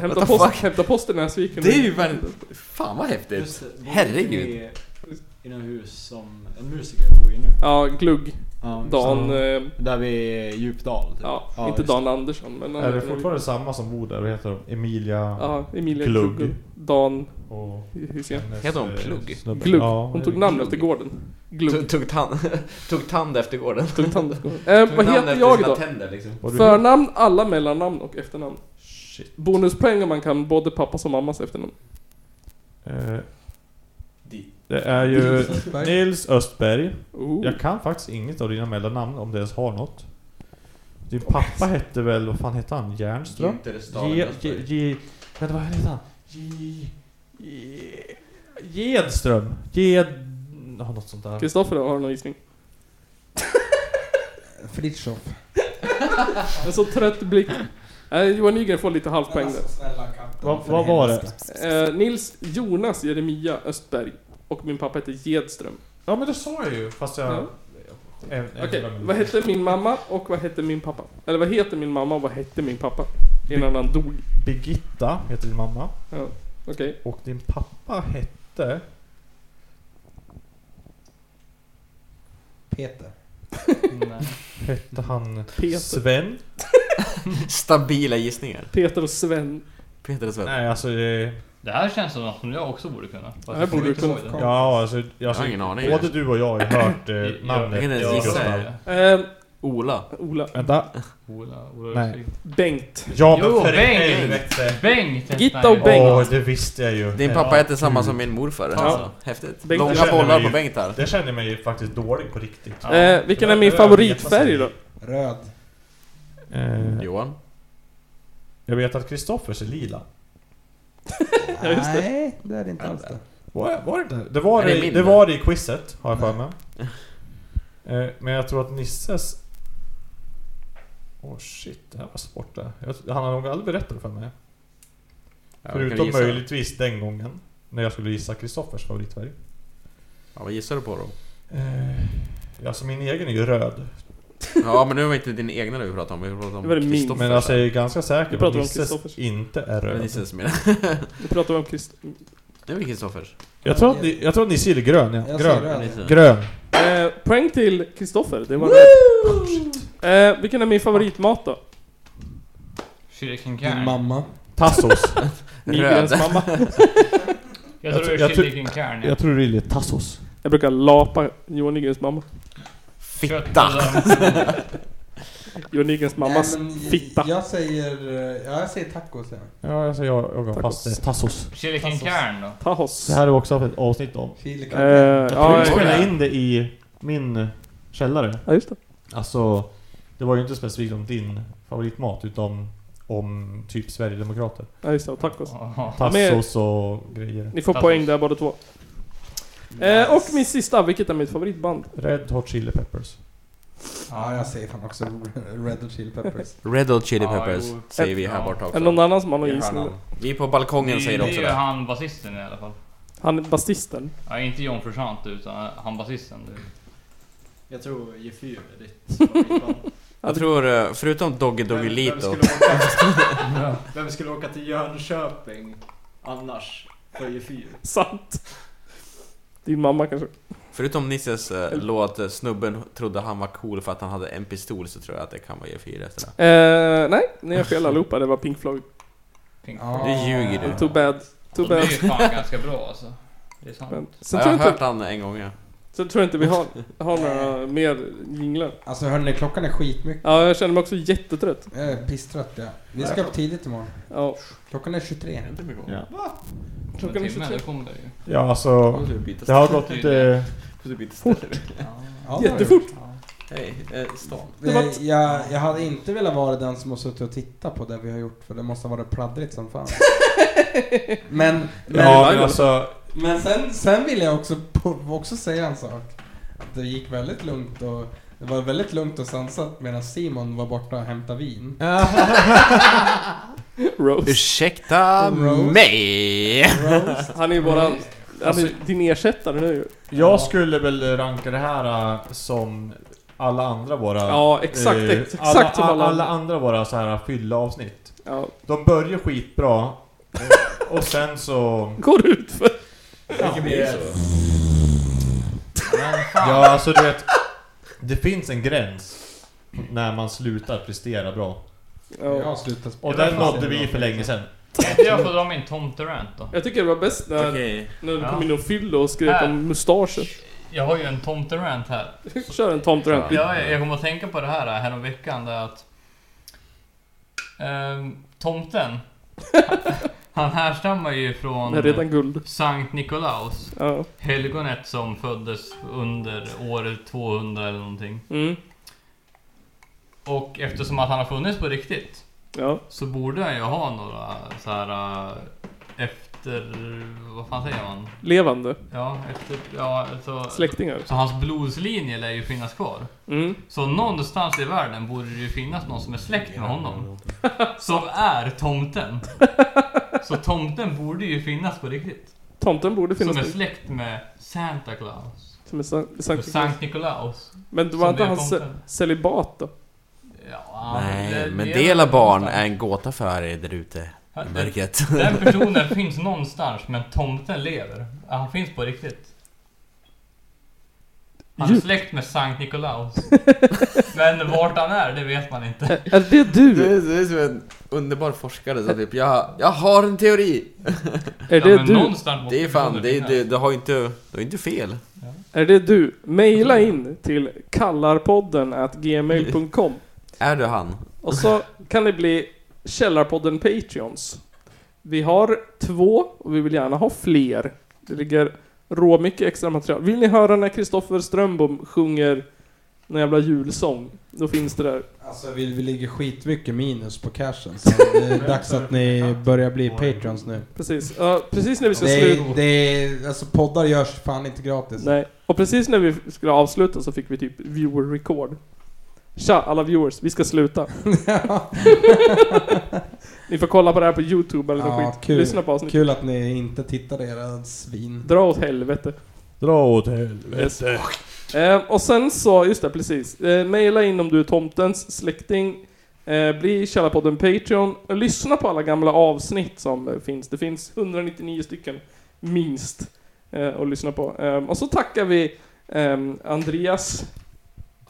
S2: Hämta, post, hämta post i Näsviken.
S16: Det är ju fan- fan vad häftigt.
S12: Just det,
S16: Herregud.
S12: I, I något hus som en musiker bor i nu.
S2: Ja, glugg.
S12: Ja,
S2: Dan...
S12: så-
S2: eh,
S12: Där vid Djupdal. Typ.
S2: Ja,
S12: Ja,
S2: inte
S12: just det.
S2: Dan Andersson men...
S5: Är det fortfarande samma som bor där? Vad heter de? Emilia...
S2: Ja, Emilia
S5: Klugg.
S2: Klugg. Dan...
S5: Och
S2: Hussein.
S5: hennes, Heter hon eh, Plugg? snubbe.
S2: Glugg.
S5: Ja,
S2: Hon
S5: det
S2: tog
S5: är
S2: namn
S16: Glugg.
S2: efter gården. Glugg.
S16: Tog, tog, tand, tog tand efter gården.
S2: Tog tand efter gården. Eh,
S16: Tog
S2: vad
S16: namn
S2: heter
S16: efter
S2: jag
S16: sina
S2: då?
S16: Tänder, liksom.
S2: Förnamn, alla mellannamn och efternamn. Bonuspoäng om man kan både pappas och mammas efternamn.
S5: Eh, Det är ju
S2: Nils Östberg.
S5: Nils Östberg.
S2: Oh.
S5: Jag kan faktiskt inget av dina mellannamn om du ens har något. Din pappa hette väl, vad fan hette han? Järnström?
S16: Günther Stalin
S5: Ge-
S16: Östberg.
S5: ge- ge- Vänta, vad hette han? Ge- ge- Gedström? Ged... Ja, något sånt där.
S2: Kristoffer då, har du någon gissning?
S3: Fritiof.
S2: En så trött blick. Eh, Johan Nygren får lite halvpoäng där.
S5: Vad- vad var det?
S2: Eh, Nils Jonas Jeremia Östberg. Och min pappa heter Gedström.
S5: Ja men det sa jag ju, fast jag...
S2: Ja.
S5: En- en-
S2: Okej, vad hette min mamma och vad hette min pappa? Eller vad heter min mamma och vad hette min pappa? Innan han dog.
S5: Birgitta heter din mamma.
S2: Ja, okej.
S5: Och din pappa hette...
S3: Peter.
S5: Hette han
S2: Peter.
S5: Sven?
S16: Stabila gissningar.
S2: Peter och Sven.
S16: Peter och Sven.
S5: Nej alltså det...
S4: Det här känns som något som jag också borde kunna. Fast
S5: Det
S4: jag kommer inte ihåg det.
S5: Ja, alltså, alltså,
S16: Jag har ingen aning.
S5: Både du och jag har ju hört
S4: Jag-
S5: eh,
S4: jag-
S5: namnet.
S4: jag kan inte ens gissa det.
S2: Ehm,
S16: Ola.
S2: Ola.
S5: Vänta.
S4: Ola,
S5: Nej.
S2: Bengt.
S5: Ja, men
S4: Jo,
S5: för
S4: Bengt!
S5: helvete.
S4: Bengt!
S2: Gitta och Bengt.
S5: Åh, det visste jag ju.
S16: Din pappa heter samma som min morfar.
S2: Ja.
S16: Alltså. Häftigt.
S2: Bengt-
S5: Det
S16: Långa
S5: känner
S16: bollar
S5: mig ju-
S16: på Bengt här.
S5: Det känner mig ju faktiskt dålig på riktigt.
S2: Eh, vilken är min favoritfärg då?
S3: Röd.
S16: Johan?
S5: Eh, Jag vet att Kristoffers är lila.
S2: Ja, just det.
S3: Nej, det är det inte alls det.
S5: Var, var det inte? Det var
S16: Är det
S5: det, i-
S16: min
S5: det,
S16: då?
S5: var det i quizet, har jag för mig. Eh, Men jag tror att Nisses... Åh shit, det här var svårt det. Jag, han har nog aldrig berättat det för mig.
S16: Ja, kan
S5: Förutom
S16: gissa.
S5: möjligtvis den gången. När jag skulle gissa Kristoffers favoritfärg.
S16: Ja, vad gissar du på då?
S5: Eh, alltså min egen är ju röd.
S16: Ja, men nu var det inte din egna du pratade om. Vi pratade om
S2: Det var det min.
S16: Kristoffers.
S5: Men alltså jag är ju ganska
S2: Vi
S5: säker på att
S2: pratar om
S5: Nisses
S2: Kristoffers.
S5: inte är
S16: Men
S5: röd.
S16: Nisses menar
S2: Nu pratar vi om Krist...
S16: Det är väl Kristoffers?
S5: Jag tror att, ni, jag tror att Nisse är grön ja.
S3: Jag
S5: Grön.
S3: säger röd.
S16: Nisse.
S5: Grön.
S2: Eh, poäng till Kristoffer, det var rätt. Eh, vilken är min favoritmat då?
S4: Shuriken
S3: Din
S4: Cairn.
S3: mamma.
S5: Tassos.
S2: Nygrens mamma.
S4: Jag tror det
S5: jag
S4: är
S5: tror-
S4: Shuriken Cairn. ja.
S5: jag tror det är Tassos.
S2: Jag brukar lapa Johan Nygrens mamma.
S16: Fitta!
S2: Johan Nygrens mammas
S3: Nej, men
S2: fitta.
S3: Jag säger, eh, ja, jag säger tacos. Ja.
S5: Ja, alltså jag, jag går fast.
S2: Tacos.
S5: Det är Tassos.
S4: Shuriken Cairn då?
S2: Tahos.
S5: Det här är också haft ett avsnitt om.
S3: Chili
S2: Eh,
S3: uh,
S5: Jag
S2: ja,
S5: fick
S2: ja,
S5: spela in det i min källare.
S2: ja, just det.
S5: Alltså, det var ju inte specifikt om din favoritmat utan om typ Sverigedemokrater.
S2: Ja, just det. Och tacos.
S4: Jaha.
S16: Alltså,
S2: men-
S5: Tassos och grejer.
S2: Ni får poäng där båda två. Eh, och min sista, vilket är mitt favoritband?
S5: Red Hot Chili Peppers.
S3: Ja, jag säger fan också Red Hot Chili Peppers.
S16: Red Hot Chili
S4: Ja,
S16: Peppers
S4: jo.
S16: säger vi här
S4: Ja.
S16: borta
S2: Är
S16: också.
S2: det någon annan som har någon
S16: I
S2: gissning?
S16: hörnan. Vi på balkongen
S4: Det
S16: säger
S4: det är
S16: också
S4: ju
S16: det.
S4: han basisten i alla fall.
S2: Han är basisten.
S4: Ja, inte John Frusciante utan han basisten. du.
S12: Jag tror G4 är ditt favoritband.
S2: Alltså,
S16: Jag tror, eh, förutom Doggy Doggy
S12: Vem- vem
S16: Lito.
S12: skulle åka- Vem skulle åka till Jönköping annars? För G4?
S2: Sant. Din mamma kanske?
S16: Förutom Nisses eh, låt eh, Snubben trodde han var cool för att han hade en pistol så tror jag att det kan vara E G4 efter det.
S2: Eh, nej, ni har fel allihopa. Det var Pink Floyd.
S4: Pink
S3: Ja.
S16: Du ljuger du.
S2: Too bad. Too
S4: De är
S2: bad.
S4: ju fan ganska bra alltså. Det är
S2: Men,
S4: sant.
S16: Ja,
S2: sen,
S16: jag
S2: tror
S16: har
S2: jag
S16: hört
S2: inte,
S16: han en gång ja.
S2: sen tror jag inte vi har, har några mer jinglar.
S3: Alltså hörni, klockan är skitmycket.
S2: Ja, jag känner mig också jättetrött.
S3: Jag är pisstrött ja. Vi ska upp tidigt imorgon.
S2: Ja.
S3: Klockan är 23.
S5: Ja.
S4: Om
S2: Klockan
S4: en
S2: är
S4: timme,
S2: 23.
S4: då kommer det ju.
S5: ja, alltså... Det har gått lite...
S3: Ja,
S2: Jättefort!
S16: Hej, eh, stan.
S2: Det var ett-
S3: Eh, Jag, jag hade inte velat vara den som har suttit och tittat på det vi har gjort för det måste ha varit pladdrigt som fan. men, men,
S5: Ja, men alltså...
S3: men sen, sen vill jag också, på- också säga en sak. Att det gick väldigt lugnt och det var väldigt lugnt och sansat medan Simon var borta och hämtade vin.
S2: Rose.
S16: Ursäkta
S3: Roast.
S16: mig!
S3: Roast.
S2: Han är ju våran... Han
S5: Alltså-
S2: är din ersättare nu ju.
S5: Jag skulle väl ranka det här eh, som alla andra våra...
S2: Ja, exakt,
S5: eh,
S2: exakt
S5: alla,
S2: som alla
S5: alla
S2: andra.
S5: andra våra så här fylla avsnitt.
S2: Ja.
S5: De börjar skitbra och, och sen så...
S2: Går ut för...
S5: Ja, alltså du vet... Det finns en gräns när man slutar prestera bra.
S2: Jag har
S3: slutat
S5: Och
S4: Jag
S5: den
S4: har-
S5: nådde vi för länge sedan.
S4: Kan inte jag få dra min tomterant då?
S2: Jag tycker det var bäst när, när du
S4: Ja.
S2: kom in och fyllde och skrek
S4: Här.
S2: om mustaschen.
S4: Jag har ju en tomterant här.
S2: Kör en tomterant.
S4: Ja, jag kommer att tänka på det här äh, härom veckan där att... ehm, tomten. han härstammar ju från...
S2: Nej, redan guld.
S4: Sankt Nikolaus.
S2: Ja.
S4: Helgonet som föddes under år 200 eller någonting.
S2: Mm.
S4: Och eftersom att han har funnits på riktigt. Så borde han ju ha några så här äh, efter... Vad fan säger man?
S2: Levande.
S4: Ja, efter, ja alltså,
S2: Släktingar.
S4: Så hans blodslinje lär ju finnas kvar.
S2: Mm.
S4: Så någonstans i världen borde det ju finnas någon som är släkt med honom. Som är tomten. Så tomten borde ju finnas på riktigt.
S2: Tomten borde finnas
S4: Som är
S2: där.
S4: släkt med Santa Claus.
S2: Som är Sankt, Sankt,
S4: Sankt Nikolaus.
S2: Men det
S4: Som
S2: var inte
S4: är
S2: hans
S4: tomten.
S2: celibat då?
S16: Nej,
S4: det-
S16: men
S4: det-
S16: del av barn är en gåta för er där ute i mörkret.
S4: Den personen finns någonstans men tomten lever. Han finns på riktigt. Han är
S2: Djupt.
S4: släkt med Sankt Nikolaus. Men vart han är, det vet man inte.
S2: Är det du?
S16: Du är, du är som en underbar forskare som typ, jag, jag har en teori!
S2: Är det Ja, men du? någonstans måste
S16: Det är fan,
S2: personer
S16: det, är-
S2: finnas.
S16: det, det har ju inte, du har inte fel.
S2: Är det du? Maila in till kallarpodden at gmail.com
S16: Är du han?
S2: Och så kan det bli Källarpodden Patreons. Vi har två och vi vill gärna ha fler. Det ligger råmycket extra material. Vill ni höra när Kristoffer Strömbom sjunger någon jävla julsång? Då finns det där.
S3: Alltså vi, vi ligger skitmycket minus på cashen så det är dags att ni börjar bli patreons nu.
S2: Precis. Ja, precis när vi ska
S3: det,
S2: sluta.
S3: är- det är, alltså poddar görs fan inte gratis.
S2: Nej. Och precis när vi skulle avsluta så fick vi typ viewer record. Tja alla viewers, vi ska sluta. Ni får kolla på det här på Youtube eller något
S3: Ja,
S2: skit.
S3: kul,
S2: Lyssna på avsnittet.
S3: kul att ni inte tittade era svin.
S2: Dra åt helvete.
S5: Dra åt helvete.
S2: Yes. Eh, och sen så, just det, precis. Eh, maila in om du är tomtens släkting. Eh, bli Källarpodden Patreon. Och lyssna på alla gamla avsnitt som eh, finns. Det finns 199 stycken, minst, eh, att lyssna på. Eh, och så tackar vi ehm, Andreas...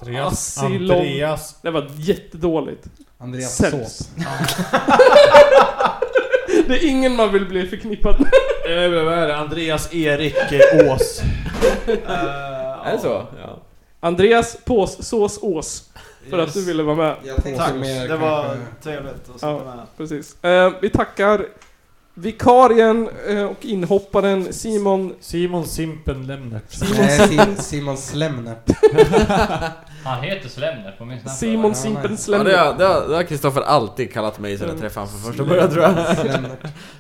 S5: Andreas-
S2: Assilov-
S5: Andreas.
S2: Det var jättedåligt.
S3: Andreas
S2: Sämst. Det är ingen man vill bli förknippad med.
S5: Vad är det? Andreas Erik Ås.
S16: Är det så? Ja.
S2: Andreas Pås Sås Ås. För
S16: Yes.
S2: att du ville vara med.
S12: Jag tänkte Tack. mer Det var kanske- trevligt att
S2: ja,
S12: vara med.
S2: precis. Eh, vi tackar vikarien eh, och inhopparen Simon...
S5: Simon Simpen Lemnert.
S2: Simon
S3: Nej, Sim-
S2: Simpen...
S3: Simon Slemner.
S4: Han heter Slemner på min snappa.
S2: Simon Simpen
S16: Ja,
S2: Slemner.
S16: det har- det har- det har Kristoffer alltid kallat mig sen jag träffade honom för första
S2: Slemnerd.
S16: början tror jag.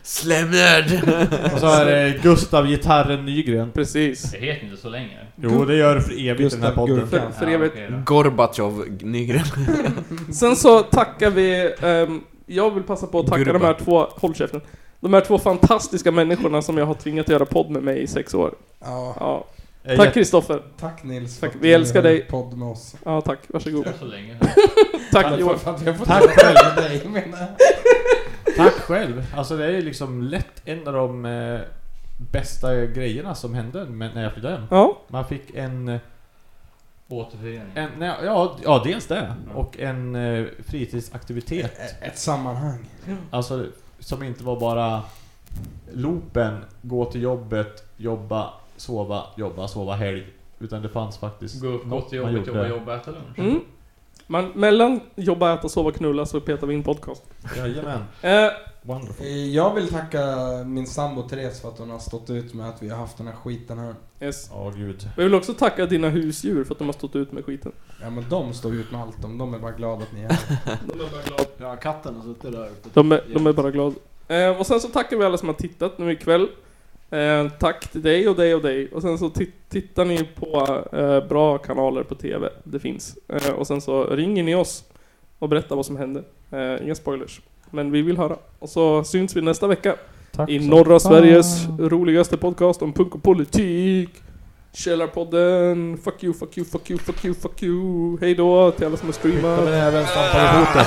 S2: Slemnerd.
S16: Slemnerd!
S5: Och så är det Gustav Gitarren Nygren.
S2: Precis.
S4: Det heter inte så länge.
S5: Jo, det gör det för evigt i den här podden.
S2: För, för evigt.
S16: Gorbatjov Nygren.
S2: Sen så tackar vi... ehm, jag vill passa på att tacka
S16: Gurba.
S2: de här två... Håll käften. De här två fantastiska människorna som jag har tvingat göra podd med mig i sex år.
S16: Ah.
S3: Ja.
S5: Eh,
S2: Tack
S5: jätte-
S2: Kristoffer.
S3: Tack, Nils,
S2: Tack.
S3: för att
S2: Vi
S3: du
S2: älskar
S3: gör
S2: dig.
S3: podd med oss.
S2: Ja, tack. Varsågod.
S4: Det var så länge.
S2: tack Johan.
S3: för att jag får Tack själv. med dig, menar
S5: Tack själv. Alltså det är ju liksom lätt en av de eh, bästa grejerna som hände med- när jag flyttade hem.
S2: Ja.
S5: Man fick en... eh,
S4: Återförening.
S2: Äh,
S5: en nej, ja, ja, dels det. Och en eh, fritidsaktivitet.
S3: Ett sammanhang.
S5: Alltså som inte var bara loopen, gå till jobbet, jobba, sova, jobba, sova helg. Utan det fanns faktiskt
S4: Gå upp, gå till
S5: man
S4: jobbet, jobba,
S5: gjorde.
S4: jobba, äta lunch.
S2: Mm. Man, mellan jobba, äta, sova, knulla så petar vi in podcast.
S5: Jajamän.
S2: Eh,
S5: Wonderful.
S3: Eh, Jag vill tacka min sambo Therese för att hon har stått ut med att vi har haft den här skiten här.
S2: Yes.
S5: Ja, gud.
S2: Jag vill också tacka dina husdjur för att de har stått ut med skiten.
S3: Ja men de står ut med allt, de, de är bara glada att ni är här.
S12: Ja, katten har suttit där uppe.
S2: De är, de är bara glada. Eh, och sen så tackar vi alla som har tittat nu ikväll. Eh, tack till dig och dig och dig. Och sen så ti- tittar ni på eh, bra kanaler på TV. Det finns. Eh, och sen så ringer ni oss och berättar vad som hände. Eh, inga spoilers. Men vi vill höra. Och så syns vi nästa vecka. I
S5: så.
S2: norra Sveriges roligaste podcast om punk och politik. Källarpodden. Fuck you, fuck you, fuck you, fuck you, fuck you. Hej då till alla som har streamat.
S5: Skicka med näven, stampa med foten.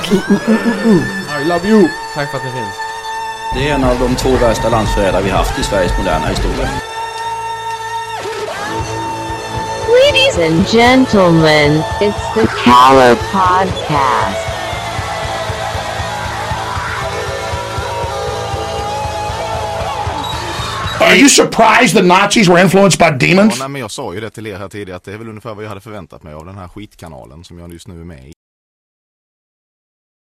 S2: I love you.
S16: Tack för att ni finns.
S19: Det är en av de två värsta landsförrädare vi haft i Sveriges moderna historia.
S15: Weedy
S6: Ladies and gentlemen, it's the Caller Podcast.
S20: Are you surprised the Nazis were influenced by
S10: Ja,
S20: demons?
S10: nej, men jag sa ju det till er här tidigare att det är väl ungefär vad jag hade förväntat mig av den här skitkanalen som jag just nu är med i.